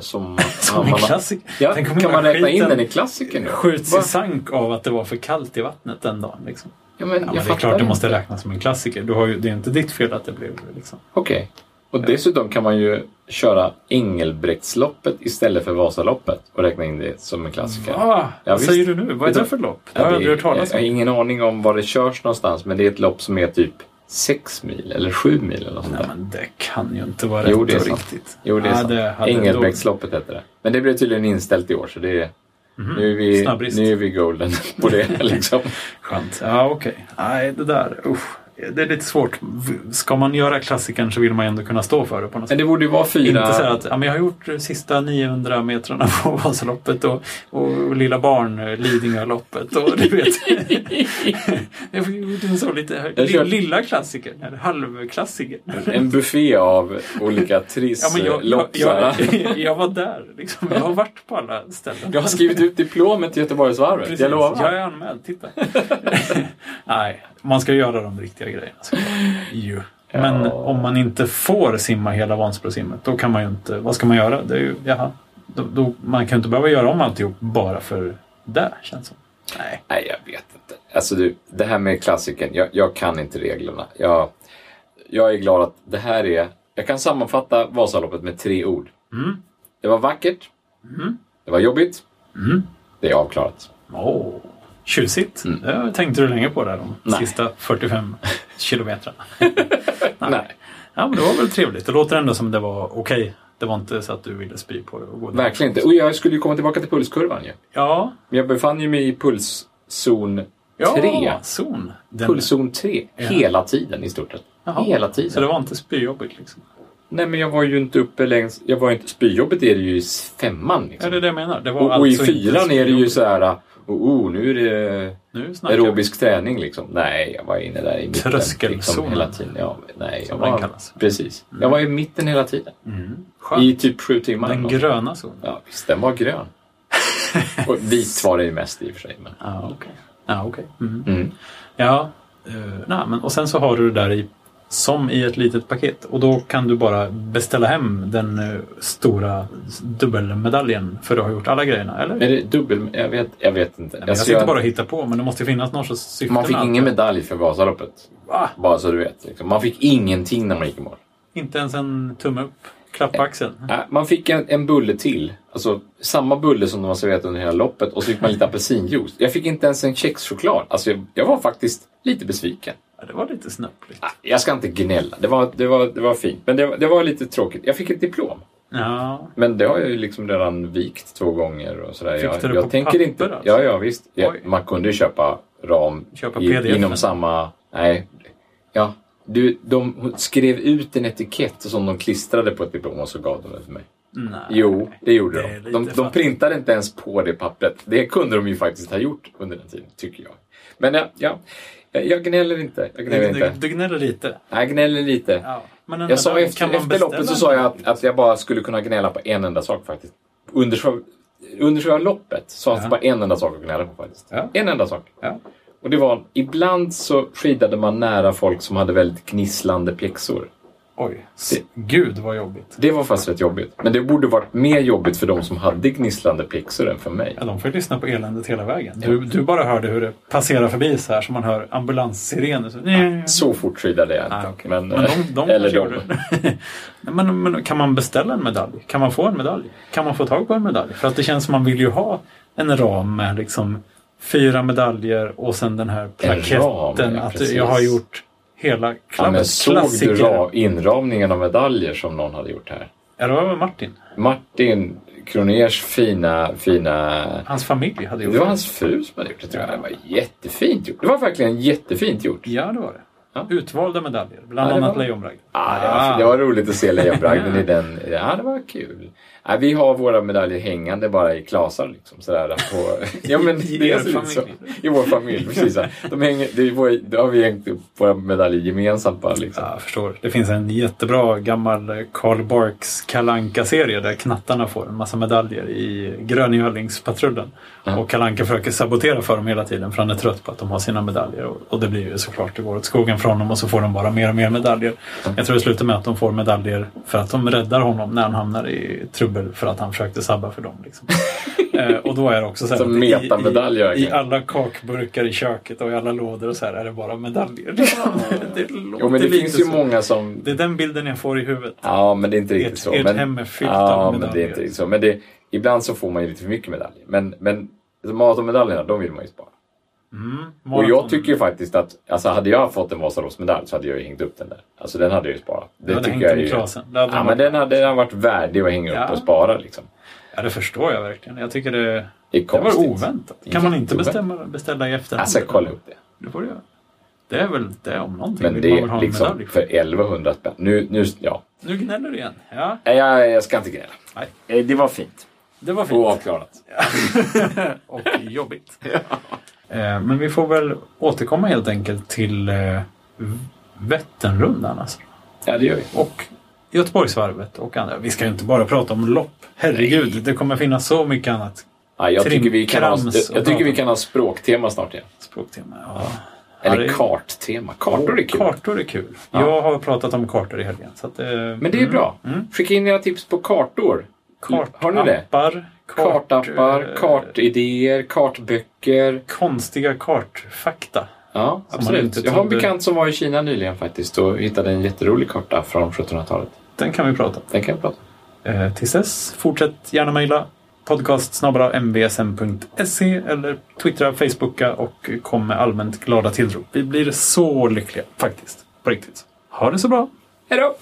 som...
Som
ja,
en
man-
klassiker.
Ja,
Tänk om
kan
hela
man räkna in
skiten
den i klassiken nu?
Skjuts
Va?
i sank av att det var för kallt i vattnet den dagen. Liksom.
Ja, men
Ja,
jag
men det är
fattar
klart det
inte.
måste räknas som en klassiker. Du har ju, det är inte ditt fel att det blev det. Liksom.
Okej. Och dessutom kan man ju köra Engelbrektsloppet istället för Vasaloppet och räkna in det som en klassiker.
Ah,
Ja,
vad
visst.
säger du nu? Vad är
Det-
det för lopp? Det
Ja,
har jag
det-
aldrig hört talas
Jag har
om.
ingen aning om var det körs någonstans, men det är ett lopp som är typ 6 mil eller 7 mil eller något sånt
Nej,
där.
men det kan ju inte vara
Jo,
rätt
det är
och
sant.
riktigt.
Jo, det är
Ja,
sant.
hade ändå-
Engelbrektsloppet heter det. Men det blev tydligen inställt i år, så det är...
Mhm.
Nu, är vi,
Snabbrist.
nu är vi golden på det. Liksom.
Skönt. Ja, okej. Nej, det där. Usch. Det är lite svårt. V- Ska man göra klassikern så vill man ju ändå kunna stå för det på något
Men
sätt.
det borde ju vara fyra...
Inte så här att ja, men jag har gjort de sista 900 metrarna på Vasaloppet och, och Lilla Barn, eh, Lidingöloppet och du vet. jag får gjort en sån lite
Jag kör-
lilla klassikern, eller halvklassikern.
En buffé av olika
Ja,
Alltså,
men jag, jag,
trisslopp.
jag, jag var där liksom. Jag har varit på alla ställen.
Jag har skrivit ut diplomet till Göteborgsvarvet,
Precis.
jag lovar.
Jag är anmäld, titta. Nej, man ska göra de riktiga grejerna. såklart. Ju. Men
Ja.
om man inte får simma hela Vansbrosimmet, då kan man ju inte... Vad ska man göra? Det är ju, jaha, då, då, man kan ju inte behöva göra om alltihop bara för det, känns som. Nej.
Nej, jag vet inte. Alltså du, det här med klassiken, jag, jag kan inte reglerna. Jag, jag är glad att det här är... Jag kan sammanfatta Vasaloppet med tre ord.
Mm.
Det var vackert.
Mm.
Det var jobbigt.
Mm.
Det är avklarat.
Åh, tjusigt. Det tänkte du länge på där de
Mm. Nej.
sista 45 kilometrarna. Nej.
Nej.
Ja, men det var väl trevligt. Det låter ändå som det var okej. Det var inte så att du ville spy på det och gå där.
Verkligen inte. Och jag skulle ju komma tillbaka till pulskurvan ju.
Ja,
Men jag befann ju mig i pulszon 3.
zon. Den,
Pulszon 3. Hela tiden i stort sett.
Jaha.
Hela tiden.
Så det var inte spyjobbigt liksom?
Nej, men jag var ju inte uppe längst... Jag var ju inte... Spyjobbet är det ju i femman.
Är
Liksom.
det det jag menar? Det var
och, och i
alltså
fyran
inte
är det ju
spyjobbigt.
så här... Oh, oh, nu är det
Nu snackar vi.
aerobisk träning liksom. Nej, jag var inne där i mitten.
Tröskelzonen.
Liksom, hela tiden. Ja, men nej, jag
Som den
var,
kallas.
precis. Jag var i mitten hela tiden.
Mm. Skönt.
I typ sju timmar.
Den
eller något.
gröna zonen?
Ja, visst, den var grön. och vit var det ju mest i och för sig. Men...
Ja, ah, okej. Ja, okej. Mm.
Mm.
Ja, eh, nej, men, och sen så har du det där i, som i ett litet paket och då kan du bara beställa hem den eh, stora dubbelmedaljen för du har gjort alla grejerna, eller?
Är det dubbel... Jag vet, jag vet inte.
jag
Eh, Alltså,
sitter
jag-
bara och hittar på, men det måste ju finnas någon sorts Ah, syfte
Man fick
med allt.
ingen medalj för Vasaloppet.
Va?
Bara så du vet. Liksom. Man fick ingenting när man gick i mål.
Inte ens en tumme upp? Klapp på axeln?
Nej, Man fick en, en bulle till. Alltså samma bulle som de har serverat under hela loppet och så fick man lite apelsinjuice. Jag fick inte ens en kexchoklad. Alltså jag, jag var faktiskt lite besviken.
Ja, det var lite snöpligt.
Ah, Jag ska inte gnälla. Det var, det var, det var fint. Men det, var- det var lite tråkigt. Jag fick ett diplom.
Ja,
Men det har jag ju liksom redan vikt två gånger och sådär.
Fick
jag,
du det
jag
på
tänker
papper
inte.
alltså?
Ja, ja visst. Jag,
Oj.
man kunde ju köpa ram
Köpa
i,
PDF.
inom samma... Nej. Ja. Du, de hon skrev ut en etikett som de klistrade på ett diplom och så gav de det till mig.
nej.
Jo, det gjorde
Det är
de.
lite
De, de
fattigt.
printade inte ens på det pappret. Det kunde de ju faktiskt ha gjort under den tiden, tycker jag. Men ja, ja jag, jag gnäller inte. Jag gnäller
Du, du,
inte.
du gnäller lite.
Jag gnäller lite.
Ja. Men den
Jag
där
sa
dagen
efter, efter loppet så sa jag att, att jag bara skulle kunna gnälla på en enda sak faktiskt. Under, själva- under själva loppet så fanns det
Ja.
bara en enda sak att gnälla på faktiskt.
Ja.
En enda sak.
Ja.
Och det var, ibland så skidade man nära folk som hade väldigt gnisslande pjäxor.
Oj, s- gud vad jobbigt.
Det var faktiskt rätt jobbigt. Men det borde varit mer jobbigt för de som hade gnisslande pixor än för mig.
Ja, de får ju lyssna på eländet hela vägen. Du, du bara hörde hur det passerar förbi så här som man hör ambulanssirener. Så, nej,
Så fort trillade jag inte.
nej, Ah, okej.
Ah, men, eh,
Men de, de
eller
kanske
de.
gjorde det. Nej, men, men kan man beställa en medalj? Kan man få en medalj? Kan man få tag på en medalj? För att det känns som man vill ju ha en ram med liksom fyra medaljer och sen den här plaketten.
ram, ja,
att
precis.
jag har gjort hela
Ja, men
klabbet.
såg du
Klassiker.
ra- inramningen av medaljer som någon hade gjort här?
Ja, det var väl Martin.
Martin Kroners fina, fina...
Hans familj hade gjort
Det var hans fru som hade gjort det tror jag. Det var jättefint gjort. Det var verkligen jättefint gjort.
Ja, det var det.
Ja.
Utvalda medaljer, bland
Ja, det
annat
var-
lejonbragd.
Ah, det, var, det var roligt att se lejonbragden i den. Ja, det var kul. Ah, vi har våra medaljer hängande bara i klasar. Liksom, sådär, på, ja, men
I
det
er
är så,
familj.
så, I vår familj, precis. ja. De hänger, det är vår, då har vi hängt upp våra medaljer gemensamt bara. Liksom.
Ja, jag förstår. Det finns en jättebra gammal eh, Karl Barks kalanka serie där knattarna får en massa medaljer i Gröngölingspatrullen.
Ja.
Och Kalanka försöker sabotera för dem hela tiden för han är trött på att de har sina medaljer. Och- Och det blir ju såklart, det går åt skogen från dem och så får de bara mer och mer medaljer. Jag tror det slutar med att de får medaljer för att de räddar honom när han hamnar i trubbel för att han försökte sabba för dem. Liksom. Eh, och då är det också så här,
Som
att i-
metamedaljer,
I, i
verkligen.
alla kakburkar i köket och i alla lådor och så här är det bara medaljer. det låter
Jo, men det
lite
finns ju
så.
många som...
Det är den bilden jag får i huvudet.
Ja, men det är inte riktigt
Ert-
så.
ert
men,
hem är fyllt
ja,
av
men det är
medaljer.
inte riktigt så. Men det, ibland så får man ju lite för mycket medaljer. Men, men alltså, maratonmedaljerna, de vill man ju spara.
Mm,
Och jag
maraton.
tycker ju faktiskt att, alltså hade jag fått en Vasaloppsmedalj så hade jag ju hängt upp den där. Alltså den hade jag ju sparat. Det
Du hade
tycker
hängt
jag
den
är
i
ju...
klasen. Det hade
Ja,
den
men
varit-
den hade, den hade varit värdig att hänga upp
Ja.
och spara liksom.
ja, det förstår jag verkligen. Jag tycker det,
Det är
det var
konstigt.
oväntat. Kan man inte
Jätteoväntat.
bestämma, beställa i efterhand?
Alltså kolla upp det.
Det får du göra. Det är väl det om någonting.
Men
vill
det
man väl ha
är
en
liksom
medalj
för 1100 spänn. Nu, nu, ja.
Nu gnäller du igen. Ja,
Nej, jag, jag ska inte gnälla.
Nej.
Eh, Det var fint.
det var fint.
Och avklarat.
och jobbigt. Eh, Men vi får väl återkomma helt enkelt till eh, Vätternrundan alltså.
Ja, det gör vi.
och Göteborgsvarvet och andra. Vi ska ju inte bara prata om lopp. Herregud, det kommer finnas så mycket annat
Ja, jag, tycker vi kan ha,
Trimkrams
jag, jag
och
tycker vi
prata.
kan ha språktema snart igen.
språktema. Ja. Ja, det
Eller
är-
karttema. Kartor är kul.
Kartor är kul. Jag har pratat om kartor i helgen. Så att, eh,
Men det är bra.
Mm.
Skicka in era tips på kartor. Har ni det?
Kartappar. kart-
Kartappar,
eh,
kartidéer, kartböcker.
Konstiga kartfakta.
Ja,
Som man
absolut.
inte
Jag har en
trodde-
bekant som var i Kina nyligen faktiskt och hittade en jätterolig karta från 1700-talet.
Den kan vi prata om.
Den kan jag prata om.
Eh, tills dess, fortsätt gärna mejla podcast mvsm.se eller twittra, facebooka och kom med allmänt glada tillrop. Vi blir så lyckliga faktiskt. På riktigt. Ha det så bra!
Hej då!